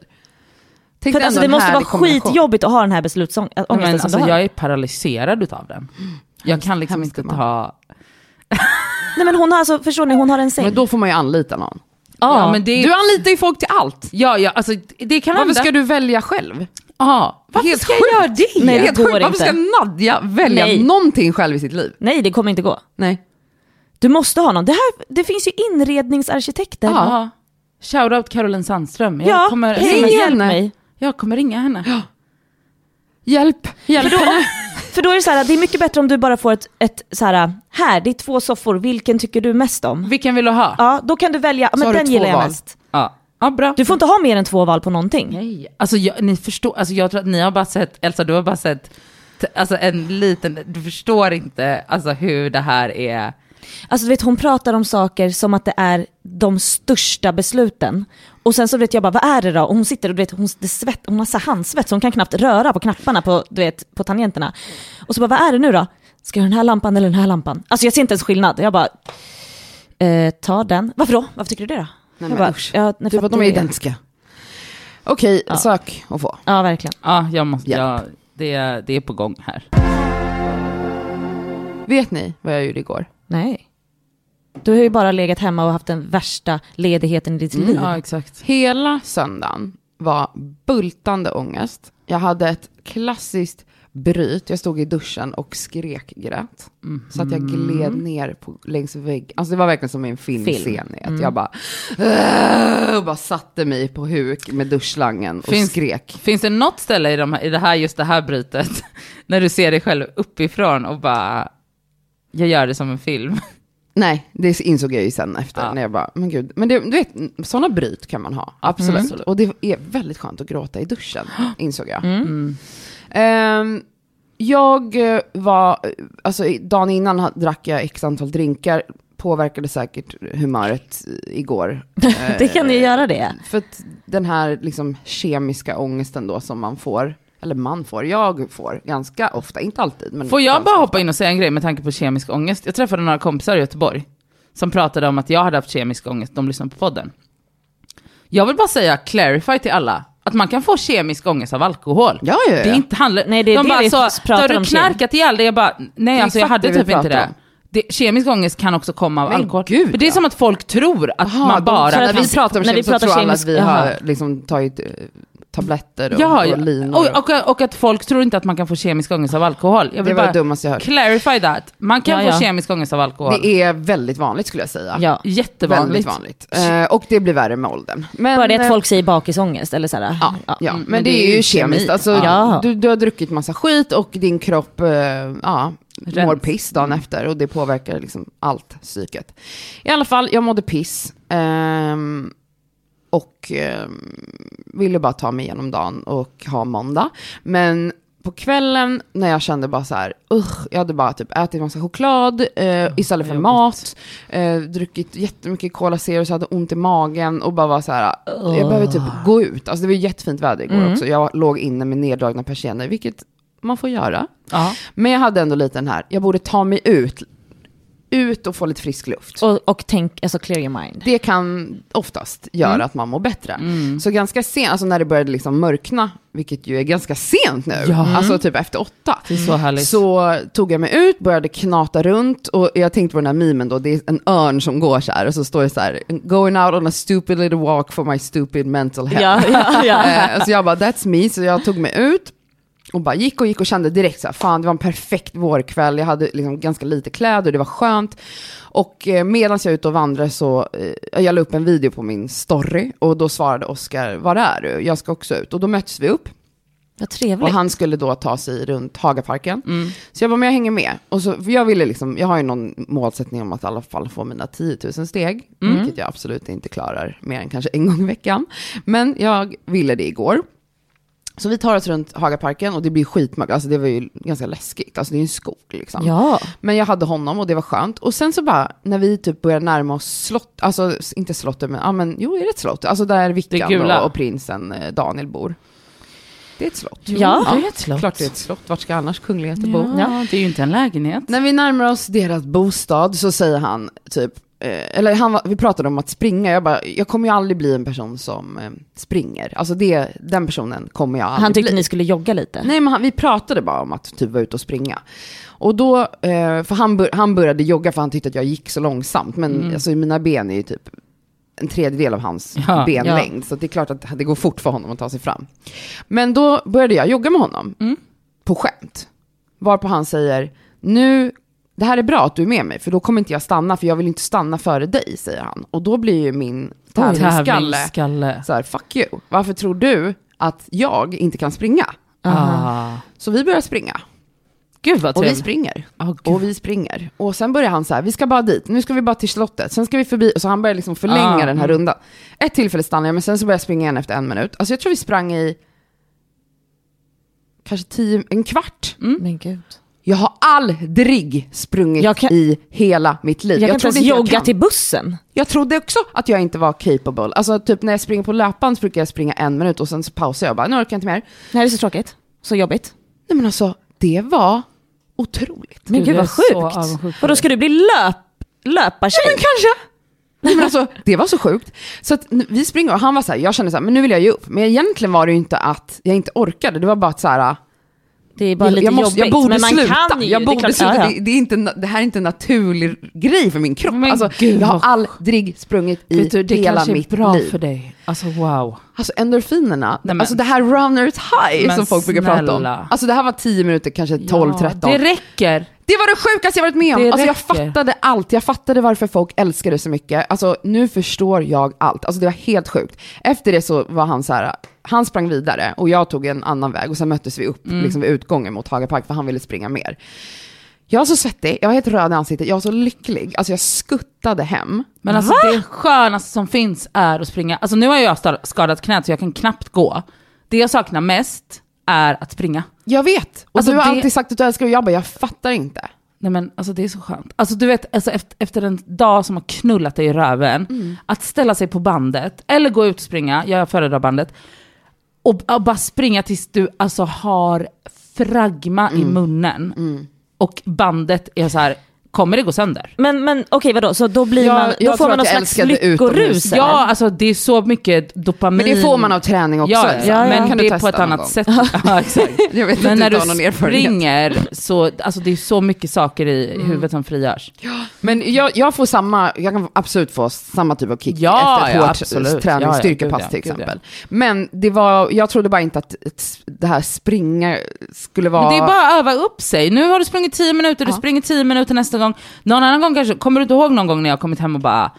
Tänk
För att,
dig ändå
alltså, det
en
måste vara
härlig kombination.
skitjobbigt att ha den här beslutsångesten
Ja, men,
som
alltså,
du har.
jag är paralyserad utav den. Jag kan liksom
hemskt
inte
man.
ta...
Nej men hon har alltså, förstår ni, hon har en säng.
Men då får man ju anlita någon.
Ja, men det...
Du anlitar ju folk till allt.
Ja, ja, alltså det kan
Varför
hända.
ska du välja själv?
Ja, varför
Helt
ska jag
sjukt.
göra det?
Nej, det
Helt
går
sjukt. Varför
inte.
ska Nadja välja
Nej.
någonting själv i sitt liv?
Nej det kommer inte gå.
Nej.
Du måste ha någon. Det, här, det finns ju inredningsarkitekter.
Ja. Shoutout Caroline Sandström. Jag,
Ja,
kommer,
hej,
jag,
hjälp
henne.
mig.
jag kommer ringa henne.
Hjälp! Hjälp!
För då, för då är det så här, det är mycket bättre om du bara får ett, ett så här, här det är två soffor, vilken tycker du mest om?
Vilken vill du ha?
Ja, då kan du välja,
har
ja, men
du
den
två
gillar jag
val.
mest.
Ja, ja bra.
Du får inte ha mer än två val på någonting.
Nej, alltså jag, ni förstår, alltså jag tror att ni har bara sett, Elsa du har bara sett, t- alltså en liten, du förstår inte alltså hur det här är.
Alltså du vet hon pratar om saker som att det är de största besluten. Och sen så vet jag bara, vad är det då? Och hon sitter och du vet, hon, det svett, hon har så här handsvett så hon kan knappt röra på knapparna på, du vet, på tangenterna. Och så bara, vad är det nu då? Ska jag ha den här lampan eller den här lampan? Alltså jag ser inte ens skillnad. Jag bara, eh, ta den. Varför då? Varför tycker du det då?
Nej,
jag
men
bara,
usch.
ja, nej,
Du
för
bara, "Typ
att
de är
det-
identiska. Okej, sök och få.
Ja, verkligen.
Ja, jag måste,
Japp.
jag, det, är- det är på gång här.
Vet ni vad jag gjorde igår?
Nej. Du har ju bara legat hemma och haft den värsta ledigheten i ditt
Mm.
liv.
Mm. Ja, exakt.
Hela söndagen var bultande ångest. Jag hade ett klassiskt bryt. Jag stod i duschen och skrekgrät. Så att jag gled ner på, längs väggen. Alltså det var verkligen som i en filmscen. i Att Jag bara, "Åh!" och bara satte mig på huk med duschslangen och
Finns-
skrek.
Finns det något ställe i, de här, i det här, just det här brytet, *laughs* när du ser dig själv uppifrån och bara, jag gör det som en film?
Nej, det insåg jag ju sen efter.
Ja. Mm.
När jag bara, men gud. Men det, du vet, sådana bryt kan man ha. Absolut. Och det är väldigt skönt att gråta i
*gasps*
duschen, insåg jag.
Mm.
Mm. Ehm, jag eh, var, alltså i- dagen innan ha- drack jag x antal drinkar. Påverkade säkert humöret eh, igår.
*laughs* det kan ju göra det.
För att den här liksom kemiska ångesten då som man får, eller man får, jag får ganska ofta, inte alltid. Men
Får jag
ganska
bara
ofta.
hoppa in och säga en grej med tanke på kemisk ångest? Jag träffade några kompisar i Göteborg som pratade om att jag hade haft kemisk ångest, de lyssnade på podden. Jag vill bara säga, clarify till alla, att man kan få kemisk ångest av alkohol.
Ja, ja, ja.
Det är inte handla...
Nej, det är
de
det vi
bara så,
pratar
har du
om
knarkat ihjäl dig? Jag bara, nej
är
alltså jag
exakt
hade
det vi
typ
pratar
inte det.
om.
det. Kemisk ångest kan också komma av
Men
alkohol.
gud,
För det är
ja.
som att folk tror att
Aha, de
man bara
tror- när
kan...
vi pratar om
när vi
kemiskt så
pratar
tror alla att
kemiskt-
vi
jaha.
har liksom tagit eh, tabletter och,
Ja,
och linor.
och, och, och att folk tror inte att man kan få kemisk ångest av alkohol. Jag
det
vill
var det
bara
dummaste jag hört.
clarify that. Man kan
Ja,
få
ja.
kemisk ångest av alkohol.
Det är väldigt vanligt skulle jag säga.
Ja.
Väldigt
Jättevanligt.
vanligt. Eh, och det blir värre med åldern. Men,
Bara det att
eh,
folk säger bakisångest eller sådär.
Ja, ja.
mm,
Men, det, är ju kemiskt.
kemi.
Alltså,
Ja.
du, du har druckit massa skit och din kropp eh, ja, mår
Rens.
piss dagen efter och det påverkar liksom allt psyket. I alla fall, jag mådde piss ehm, och ehm, ville bara ta mig igenom dagen och ha måndag. Men på kvällen när jag kände bara så här, usch, jag hade bara typ ätit massa choklad eh, istället för mat, eh, druckit jättemycket Cola Zero så jag hade ont i magen och bara var så här, jag behöver typ gå ut. Alltså det var ju jättefint väder igår också, jag låg inne med neddragna persienner, vilket man får göra.
Ja.
Men jag hade ändå lite den här, jag borde ta mig ut, ut och få lite frisk luft.
Och, och tänk, alltså clear your mind.
Det kan oftast göra att man mår bättre. Så ganska sent, alltså när det började liksom mörkna, vilket ju är ganska sent nu, alltså typ efter åtta,
Det är så härligt.
så tog jag mig ut, började knata runt och jag tänkte på den här memen då, det är en örn som går så här och så står det så här, going out on a stupid little walk for my stupid mental health.
Ja,
*laughs*
ja, ja.
Eh, så jag bara, that's me. Så jag tog mig ut och bara gick och gick och kände direkt så här, fan det var en perfekt vårkväll. Jag hade liksom ganska lite kläder, det var skönt. Och eh, medan jag är ute och vandrade så, eh, jag la upp en video på min story och då svarade Oskar, var är du? Jag ska också ut. Och då möttes vi upp.
Vad
Och
trevligt.
han skulle då ta sig runt Hagaparken. Så jag bara, men jag hänger med. Och så, för jag, ville liksom, jag har ju någon målsättning om att i alla fall få mina 10 000 steg, vilket jag absolut inte klarar mer än kanske en gång i veckan. Men jag ville det igår. Så vi tar oss runt Hagaparken och det blir skitmörkt, alltså det var ju ganska läskigt, alltså det är ju en skog liksom.
Ja.
Men jag hade honom och det var skönt. Och sen så bara, när vi typ började närma oss slott, alltså inte slottet men, ja men jo är det ett slott? Alltså där Vickan
gula.
och, och prinsen eh, Daniel bor. Det är ett slott.
Ja.
det är ett slott.
Klart det är ett slott, vart ska annars kungligheter bo?
Ja. det är ju inte en lägenhet.
När vi närmar oss deras bostad så säger han typ, eh, eller han, var- vi pratade om att springa, jag bara, jag kommer ju aldrig bli en person som eh, springer. Alltså det, den personen kommer jag aldrig
Han tyckte
bli.
ni skulle jogga lite.
Nej men han, vi pratade bara om att typ vara ute och springa. Och då, eh, för han, bör, han började jogga för han tyckte att jag gick så långsamt, men alltså, mina ben är ju typ en tredjedel av hans
Mm. Ja,
benlängd, så det är klart att det går fort för honom att ta sig fram. Men då började jag jogga med honom,
Mm.
på skämt. Varpå han säger, nu, det här är bra att du är med mig, för då kommer inte jag stanna, för jag vill inte stanna före dig, säger han. Och då blir ju min tävlingsskalle
Tävlingsskalle.
så här, fuck you, varför tror du att jag inte kan springa?
Ah.
Så vi börjar springa.
Gud vad
Och
Typ.
vi
trevligt.
springer.
Åh, gud.
Och vi springer. Och sen börjar han så här, vi ska bara dit, nu ska vi bara till slottet, sen ska vi förbi. Och så han börjar liksom förlänga
Ah.
den
mm.
här rundan. Ett tillfälle stannar jag, men sen så börjar jag springa igen efter en minut. Alltså jag tror vi sprang i kanske tio, en kvart.
Men gud.
Jag har aldrig sprungit
Jag kan-
i hela mitt liv.
Jag, kan inte ens
trodde
jogga
jag kan.
till bussen.
Jag trodde också att jag inte var capable. Alltså typ när jag springer på löpan så brukar jag springa en minut och sen så pausar jag och bara, nu orkar jag inte mer.
Nej, det är så tråkigt. Så jobbigt.
Nej men alltså, det var otroligt.
Men
Gud,
gud
jag är
vad
så
sjukt.
avundsjuk på
Och då ska du bli löp, löpartjej?
Men kanske. Nej, men alltså, det var så sjukt. Så att n- vi springer och han var så här, jag kände så här, men nu vill jag ge upp. Men egentligen var det ju inte att jag inte orkade, det var bara att så här,
Det är bara
jag,
lite
jag, måste, jag
jobbigt.
borde
men man
sluta.
kan ju.
jag
det är
borde
klart-
sluta.
ja,
Det,
ja.
det, är inte, en- det här är inte en naturlig grej för min kropp.
Men
Alltså,
gud,
jag har
vad-
aldrig sprungit i
Vet du, det
hela
kanske är
mitt
bra
liv.
för dig. Alltså wow.
Alltså endorfinerna,
Nej, men-
alltså det här runners high
Men
som folk brukar prata om.
snälla.
Alltså det här var 10 minuter, kanske 12-13.
Ja, det räcker.
Det var det sjukaste jag varit med om.
Det
Alltså jag
räcker.
fattade allt. Jag fattade varför folk älskade det så mycket. Alltså nu förstår jag allt. Alltså det var helt sjukt. Efter det så var han så här, han sprang vidare och jag tog en annan väg och sen möttes vi upp
Mm.
liksom vid utgången mot Haga Park för han ville springa mer. Jag var så svettig, jag var helt röd i ansiktet, jag var så lycklig. Alltså jag skuttade hem.
Men alltså det skönaste som finns är att springa. Alltså nu har jag sta- skadat knät så jag kan knappt gå. Det jag saknar mest är att springa.
Jag vet! Och
Alltså,
du har
det-
alltid sagt att du älskar det och jag bara, jag fattar inte.
Nej men alltså det är så skönt. Alltså du vet, alltså, efter, efter en dag som har knullat dig i röven,
Mm.
att ställa sig på bandet, eller gå ut och springa, jag föredrar bandet, och, och bara springa tills du alltså
Mm.
har fragma i munnen. Och bandet är så här kommer det gå sönder.
Men, men okej vadå, så då, blir
Jag-
man, då
jag
får
tror
man
att
någon
jag
slags
älskade utomhus.
lyckorus? eller?
Ja, alltså det är så mycket dopamin.
Men det får man av träning också.
Ja,
Elsa.
ja,
Den
men
kan
det
du
är på
testa
ett
någon
annat
gång. *laughs*
sätt. Ja, exakt.
Jag vet
Men
inte
när
du har
du
någon erfarenhet. Mm.
springer så, alltså det är så mycket saker i huvudet som frigörs.
Men jag, jag får samma, jag kan absolut få samma typ av kick
Ja,
efter ett
ja,
hårt
absolut.
träning,
Ja, ja,
styrkepass
gud ja,
till
gud ja.
exempel. Men det var, jag trodde bara inte att ett- det här springa skulle vara...
Men det är bara att öva upp sig. Nu har du sprungit 10 minuter, du
Ja.
springer 10 minuter nästa gång. Någon annan gång kanske, kommer du inte ihåg någon gång när jag kommit hem och bara,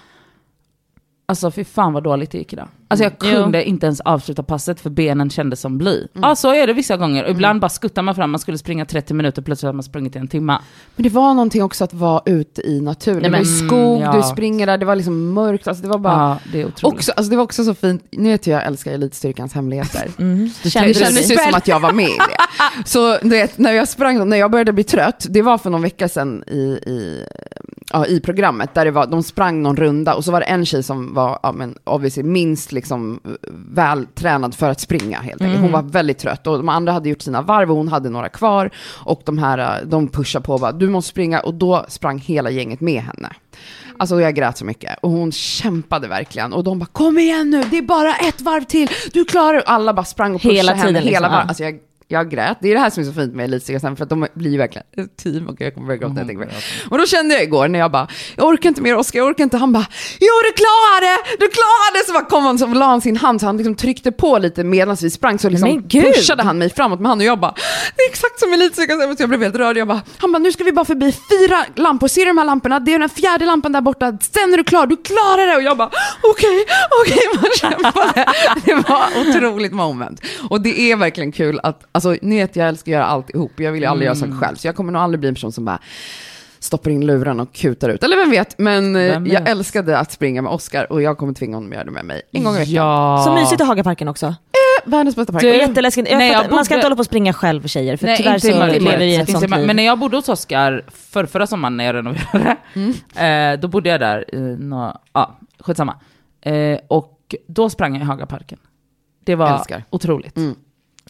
alltså fy fan vad dåligt det gick idag. Alltså jag
Mm. Jo.
kunde inte ens avsluta passet för benen kändes som
Mm.
bly. Ja så är det vissa gånger. Och Ibland bara skuttar man fram, man skulle springa 30 minuter, plötsligt har man sprungit i en timme.
Men det var någonting också att vara ute i naturen.
Nej,
Nej,
men-
men, I skog,
Mm, ja.
du springer där, det var liksom mörkt. Alltså det var bara...
Ja, det är otroligt.
Också, alltså det var också så fint, nu vet jag jag älskar elitstyrkans hemligheter.
Mm.
Det
Kändes
kändes ju som att jag var med i *laughs* det. Så du vet, när jag sprang, när jag började bli trött, det var för någon vecka sedan i, i, ja, i programmet, där det var, de sprang någon runda och så var det en tjej som var ja, men, obviously, minst liksom, eh, vältränad för att springa. Helt enkelt. Hon var
Mm.
väldigt trött och de andra hade gjort sina varv och hon hade några kvar. Och de här, eh, de pushade på och bara, du måste springa och då sprang hela gänget med henne. Alltså jag grät så mycket och hon kämpade verkligen och de bara kom igen nu, det är bara ett varv till, du klarar det." Alla bara sprang och pushade
Hela
henne
tiden
hela
liksom,
varv.
ja.
Alltså jag, jag grät. Det är det här som är så fint med Elitserien för att de blir ju verkligen ett team och jag kommer börja gråta. när jag
Mm.
tänker på det. Och då kände jag igår när jag bara, jag orkar inte mer Oskar, jag orkar inte. Han bara, jo du klarar det, du klarar det! Så bara kom han och la han sin hand så han liksom tryckte på lite medan vi sprang så liksom
Men gud!
pushade han mig framåt med han och jag bara, det är exakt som Elitserien. Så jag blev helt rörd. Jag bara, han bara, nu ska vi bara förbi fyra lampor, ser du de här lamporna? Det är den fjärde lampan där borta, sen är du klar, du klarar det! Och jag bara, okej, okej, *laughs* man kämpade. Det var otroligt moment. Och det är verkligen kul att, alltså ni vet jag älskar att göra allt ihop, jag vill ju aldrig göra saker själv, så jag kommer nog aldrig bli en person som bara stoppar in luren och kutar ut. Eller vem vet, men eh,
Vem
jag
vet?
älskade att springa med Oscar och jag kommer tvinga honom att göra det med mig en gång i veckan.
Ja.
Så mysigt i Hagaparken också.
Världens bästa park.
Det är jätteläskigt. Jag
Nej, jag
fattar- man ska
bodde-
inte hålla på och springa själv tjejer för
Nej,
tyvärr
inte
så
i Mölndal.
lever vi i ett
Inte i
sånt
Mölndal.
liv.
Men när jag bodde hos Oskar för, förra sommaren när jag renoverade,
Mm.
*laughs* eh, då bodde jag där i några, ja, skitsamma. Eh, och då sprang jag i Hagaparken. Det var
Älskar. Mm.
otroligt.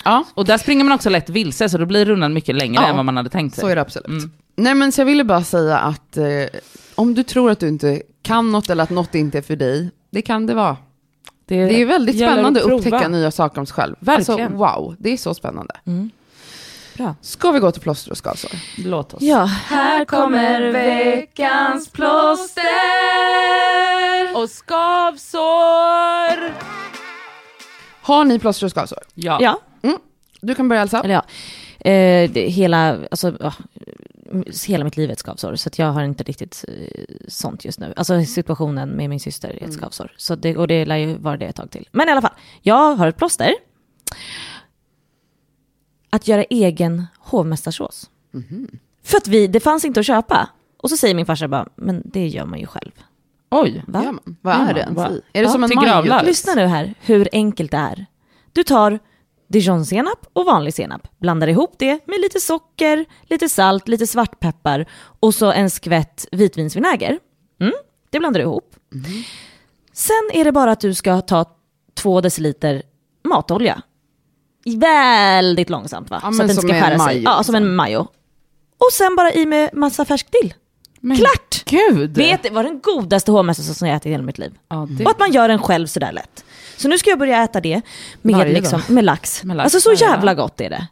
Ja.
Och där springer man också lätt vilse, så då blir rundan mycket längre
Ja,
än vad man hade tänkt sig.
Så är det absolut. Nej men så jag ville bara säga att eh, om du tror att du inte kan något eller att något inte är för dig, det kan det vara. Det är väldigt
gäller
spännande att
prova.
upptäcka nya saker om sig själv.
Verkligen.
Alltså wow, det är så spännande.
Bra.
Ska vi gå till plåster och skavsår?
Låt oss.
Ja.
Här kommer veckans plåster och skavsår.
Har ni plåster och skavsår? Mm.
Ja.
ja.
Du kan börja Elsa.
Eller ja, eh, det, hela, alltså, ja, m- hela mitt liv är ett skavsår. Så att jag har inte riktigt eh, sånt just nu. Alltså situationen med min syster är ett skavsår. Så det, och det lär ju vara det ett tag till. Men i alla fall, jag har ett plåster. Att göra egen hovmästarsås. För att vi, det fanns inte att köpa. Och så säger min farsa bara, men det gör man ju själv.
Oj.
Va?
Ja, men, vad
Mm.
är det ens
vad-
i? Är det
Ja,
som en
till
majo?
gravlax.
Lyssna nu här hur enkelt det är. Du tar dijonsenap och vanlig senap, blandar ihop det med lite socker, lite salt, lite svartpeppar och så en skvätt vitvinsvinäger. Mm, det blandar du ihop.
Mm.
Sen är det bara att du ska ta två deciliter matolja. Väldigt långsamt va?
Ja,
så
men
att den
som
ska
en liksom.
skära sig.
majo,
Ja, som en majo. Och sen bara i med massa färsk dill.
Men
Klart!
Gud.
Vet, det var den godaste hovmästarsåsen som jag ätit i hela mitt liv.
Ja, det-
Och att man gör den själv sådär lätt. Så nu ska jag börja äta det med,
Varje dag.
liksom, med, lax.
Med lax
Alltså så
varje dag.
jävla gott är det.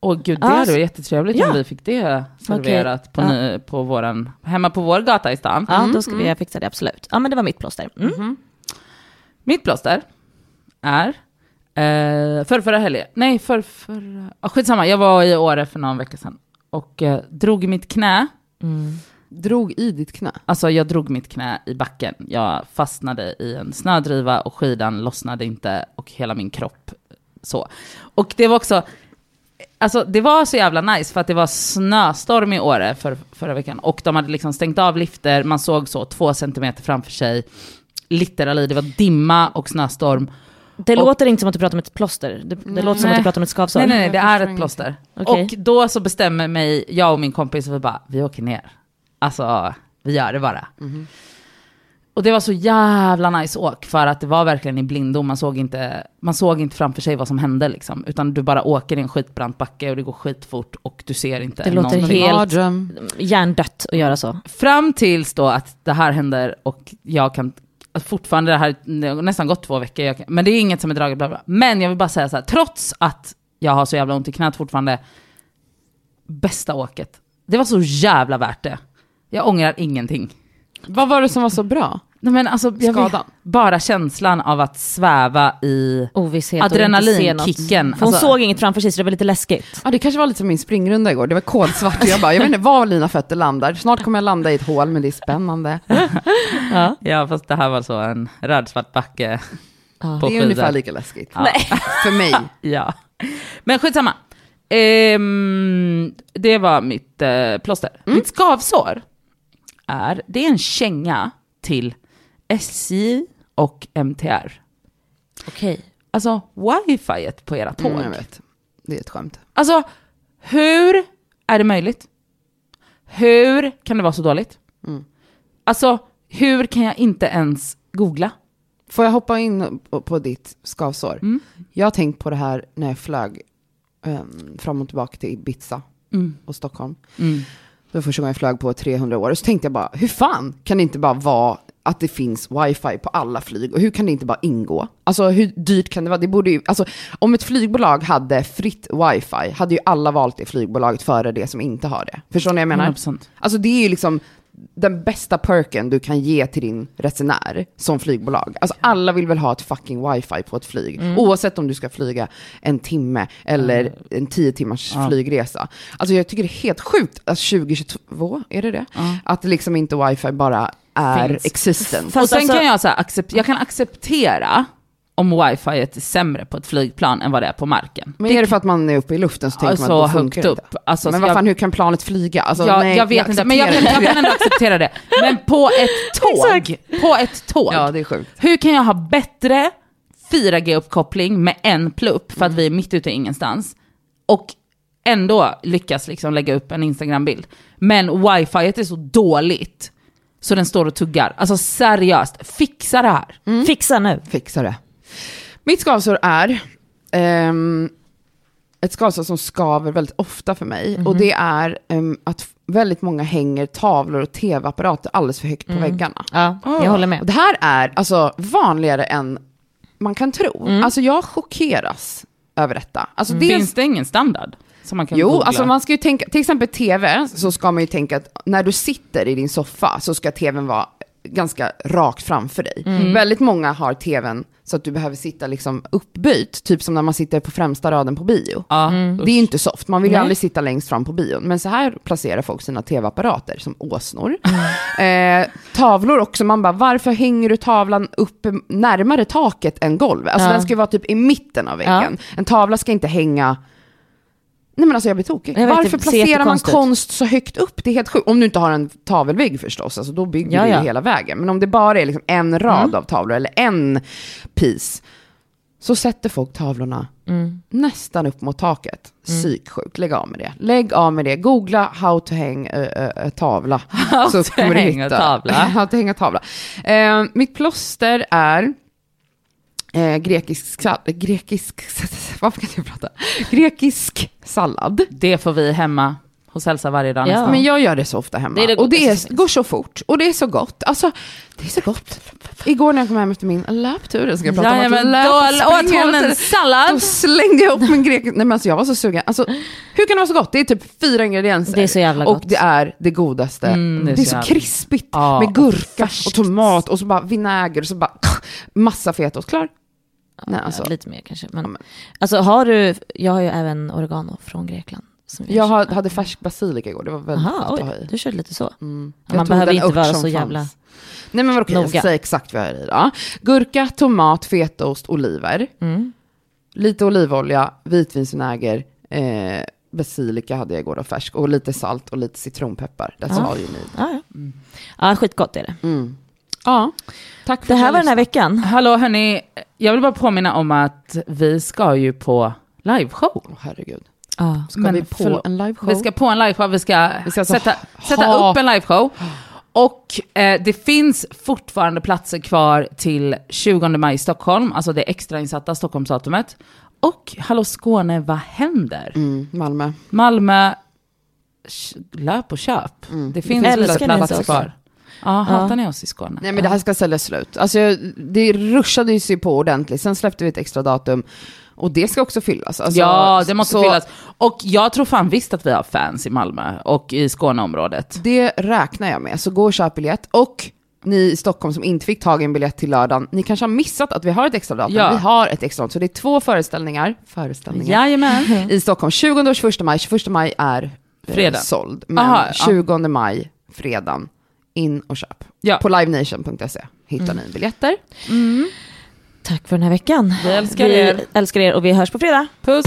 Åh gud, det
Ja,
hade
så-
varit jättetrevligt
Ja.
om vi fick det serverat på,
Ja.
ny, på våran, hemma på vår gata i stan.
Ja, då ska vi fixa det absolut. Ja, men det var mitt plåster. Mm.
Mitt plåster är eh, förra, förra helgen, nej för, förra, ah, skitsamma, jag var i Åre för någon vecka sedan och eh, drog i mitt knä.
Drog i ditt knä.
Alltså jag drog mitt knä i backen. Jag fastnade i en snödriva och skidan lossnade inte och hela min kropp så. Och det var också, alltså det var så jävla nice för att det var snöstorm i Åre för, förra veckan och de hade liksom stängt av lifter, man såg så två centimeter framför sig, literally, det var dimma och snöstorm.
Det
Och-
låter inte som att du pratar om ett plåster. Det, det låter som att du
Nej.
pratar om ett skavsår.
Nej, nej, nej, det är ett plåster.
Okej.
Och då så bestämmer mig, jag och min kompis, vi bara, vi åker ner. Alltså, vi gör det bara. Och det var så jävla nice åk för att det var verkligen i blindo. Man såg inte, man såg inte framför sig vad som hände liksom. Utan du bara åker i en skitbrant backe och det går skitfort och du ser inte
Det låter
någonting.
Helt.
Mardröm.
Hjärndött att göra så.
Fram tills då att det här händer och jag kan att fortfarande, det här det har nästan gått två veckor, jag kan, men det är inget som är draget, bla bla. Men jag vill bara säga så här, trots att jag har så jävla ont i knät fortfarande, bästa åket. Det var så jävla värt det. Jag ångrar ingenting.
Vad var det som var så bra?
Nej, men alltså, jag vet-
Skadan.
bara känslan av att sväva i...
Ovisshet och
Adrenalinkicken,
inte se något. För Hon
alltså.
såg inget framför sig så det var lite läskigt.
Ja, det kanske var lite som min springrunda igår. Det var kolsvart och jag bara, jag vet inte var Lina fötter landar. Snart kommer jag landa i ett hål, men det är spännande.
Ja, fast det här var så en rödsvart backe på
Det är
skidor.
ungefär lika läskigt.
Nej.
*laughs* För mig.
Ja. Men skitsamma. Ehm, det var mitt eh, plåster.
Mm.
Mitt skavsår är, det är en känga till SJ och MTR.
Okej.
Alltså wifiet på era tåg.
Mm, jag vet. Det är ett skämt.
Alltså hur är det möjligt? Hur kan det vara så dåligt?
Mm.
Alltså hur kan jag inte ens googla?
Får jag hoppa in på- på ditt skavsår? Jag har tänkt på det här när jag flög ehm, fram och tillbaka till Ibiza och Stockholm. Det var första gången jag flög på 300 år. Så tänkte jag bara, hur fan kan det inte bara vara att det finns wifi på alla flyg? Och hur kan det inte bara ingå? Alltså hur dyrt kan det vara? Det borde ju, alltså, om ett flygbolag hade fritt wifi hade ju alla valt det flygbolaget före det som inte har det. Förstår ni vad jag menar?
100%.
Alltså det är ju liksom den bästa perken du kan ge till din resenär som flygbolag. Alltså alla vill väl ha ett fucking wifi på ett flyg.
Mm.
Oavsett om du ska flyga en timme eller en tio timmars flygresa. Alltså jag tycker det är helt sjukt att 2022, är det det? Att liksom inte wifi bara är
Finns.
existent.
Fast
och sen
alltså-
kan jag, så här, accept, jag kan acceptera om wifi är sämre på ett flygplan än vad det är på marken.
Men är det för att man är uppe i luften så tänker
Alltså,
man att då
högt
funkar det
upp.
inte?
Alltså,
men
så
vad
jag-
fan, hur kan planet flyga? Alltså,
jag,
nej,
jag vet inte, men jag kan,
accepterar
jag
det.
kan ändå
*laughs*
acceptera det. Men på ett tåg, på ett tåg
Ja, det *laughs* är sjukt.
hur kan jag ha bättre 4G-uppkoppling med en plupp för att
Mm.
vi är mitt ute i ingenstans och ändå lyckas liksom lägga upp en Instagram-bild. Men wifi är så dåligt så den står och tuggar. Alltså seriöst, fixa det här.
Mm. Fixa nu.
fixa det. Mitt skavsår är ehm, ett skavsår som skaver väldigt ofta för mig. Och det är ehm, att f- väldigt många hänger tavlor och tv-apparater alldeles för högt på väggarna.
Ja, jag håller
Och
med.
det här är alltså vanligare än man kan tro. Alltså jag chockeras över detta. Alltså dels
Finns det ingen standard? Som man kan
Jo,
googla?
alltså man ska ju tänka, till exempel tv, så ska man ju tänka att när du sitter i din soffa så ska tvn vara ganska rakt framför dig.
Mm.
Väldigt många har tvn så att du behöver sitta liksom uppböjt, typ som när man sitter på främsta raden på bio.
Ja,
Mm.
Mm.
Det är ju inte soft, man vill ju
Nej.
aldrig sitta längst fram på bion. Men så här placerar folk sina tv-apparater som åsnor.
Mm.
Eh, tavlor också, man bara varför hänger du tavlan uppe närmare taket än golvet? Alltså
Ja.
den ska ju vara typ i mitten av väggen. En tavla ska inte hänga Nej men alltså jag blir tokig.
Jag vet,
Varför
det ser
placerar man
jättekonstigt ut.
konst så högt upp? Det är helt sjukt. Om du inte har en tavelvägg förstås, alltså då bygger
Ja,
du ju
ja. Mm.
hela vägen. Men om det bara är liksom en rad av tavlor eller en piece, så sätter folk tavlorna
Mm.
nästan upp mot taket. Psyksjukt, lägg av med det. Lägg av med det. Googla how to hang a, a, a tavla.
*laughs* How to hang a
*laughs*
tavla.
how to hang a tavla. Eh, mitt plåster är eh, grekisk sallad. Grekisk, *laughs* varför kan jag prata? Grekisk sallad.
Det får vi hemma hos Hälsa varje dag
Ja.
nästan.
Men jag gör det så ofta hemma.
Det är det
och det
godaste som
är, går så fort. Och det är så gott. Alltså, det är så
*laughs*
gott. Igår när jag kom hem efter min löptur, jag ska prata om att
Jajamän,
löp
då
och
åt
springa
hon
hela
en
tiden. Då
sallad.
Alltså-
slängde jag upp min grekisk... Nej men alltså jag var så sugen. Alltså, hur kan det vara så gott? Det är typ fyra ingredienser.
Det är så jävla
Och
gott.
det är det godaste.
Mm,
det är så,
jävla-
krispigt
Ja,
med
och
gurka och,
färskt.
tomat och så bara vinäger och så bara massa fetaost. Klar? Nej alltså.
Ja, Lite mer kanske.
Ja,
Men,
men-
alltså har du, jag har ju även oregano från Grekland. Som vi
Jag
kör.
ha- hade färsk basilika igår, det var väldigt
Aha,
gott att ha
oj,
i.
du körde lite så.
Jag
Man
tog
behöver
den
inte
ört
vara
som
så jävla...
fanns. Nej men vadå, okej, jag ska
noga.
säga exakt vad jag har i då. Gurka, tomat, fetaost, oliver.
Mm.
Lite olivolja, vitvinsvinäger, eh, basilika hade jag igår och färsk. Och lite salt och lite citronpeppar. That's
Ja.
all you need.
Ja, ja. ja, skitgott är det.
Mm. Ja, tack för
Det
att
här
ni
var den
lyssnade.
här veckan.
Hallå hörni, jag vill bara påminna om att vi ska ju på liveshow.
Åh, Herregud.
Ja.
Ska
Men
vi på
förlåt.
en liveshow?
Vi ska på en liveshow, vi ska,
Vi ska alltså
sätta,
ha-
sätta upp en liveshow. Och eh, det finns fortfarande platser kvar till 20 maj i Stockholm, alltså det extrainsatta Stockholmsdatumet. Och Hallå Skåne, vad händer?
Mm, Malmö.
Malmö, sh- löp och köp.
Mm.
Det finns
Älskar
platser
ni
platser
oss?
kvar. Ja, hatar ni oss i Skåne?
Nej men det här ska säljas slut. Alltså jag- det ruschade ju sig på ordentligt, sen släppte vi ett extra datum. Och det ska också fyllas. Alltså,
ja, det måste
så
fyllas. Och jag tror fan visst att vi har fans i Malmö och i Skåneområdet.
Det räknar jag med, så gå och köp biljett. Och ni i Stockholm som inte fick tag i en biljett till lördagen, ni kanske har missat att vi har ett extra datum.
Ja.
Vi har ett extra datum, så det är två föreställningar, föreställningar *laughs*
Jajamän.
i Stockholm. 20 och 21 maj, 21 maj är eh,
Fredag.
såld. Men
Aha, ja.
20 maj, fredagen, in och köp.
Ja. Mm.
På livenation.se E. hittar ni biljetter.
Tack för den här veckan.
Vi älskar
Vi
er.
älskar er och vi hörs på fredag.
Puss!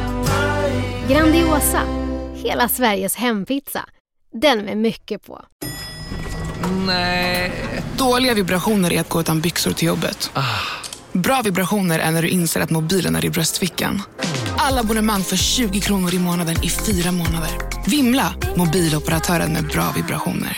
Grandiosa, hela Sveriges hempizza. Den med mycket på.
Dåliga vibrationer är att gå utan byxor till jobbet. Bra vibrationer är när du inser att mobilen är i bröstfickan. Alla abonnemang för 20 kronor i månaden i fyra månader. Vimla! Mobiloperatören med bra vibrationer.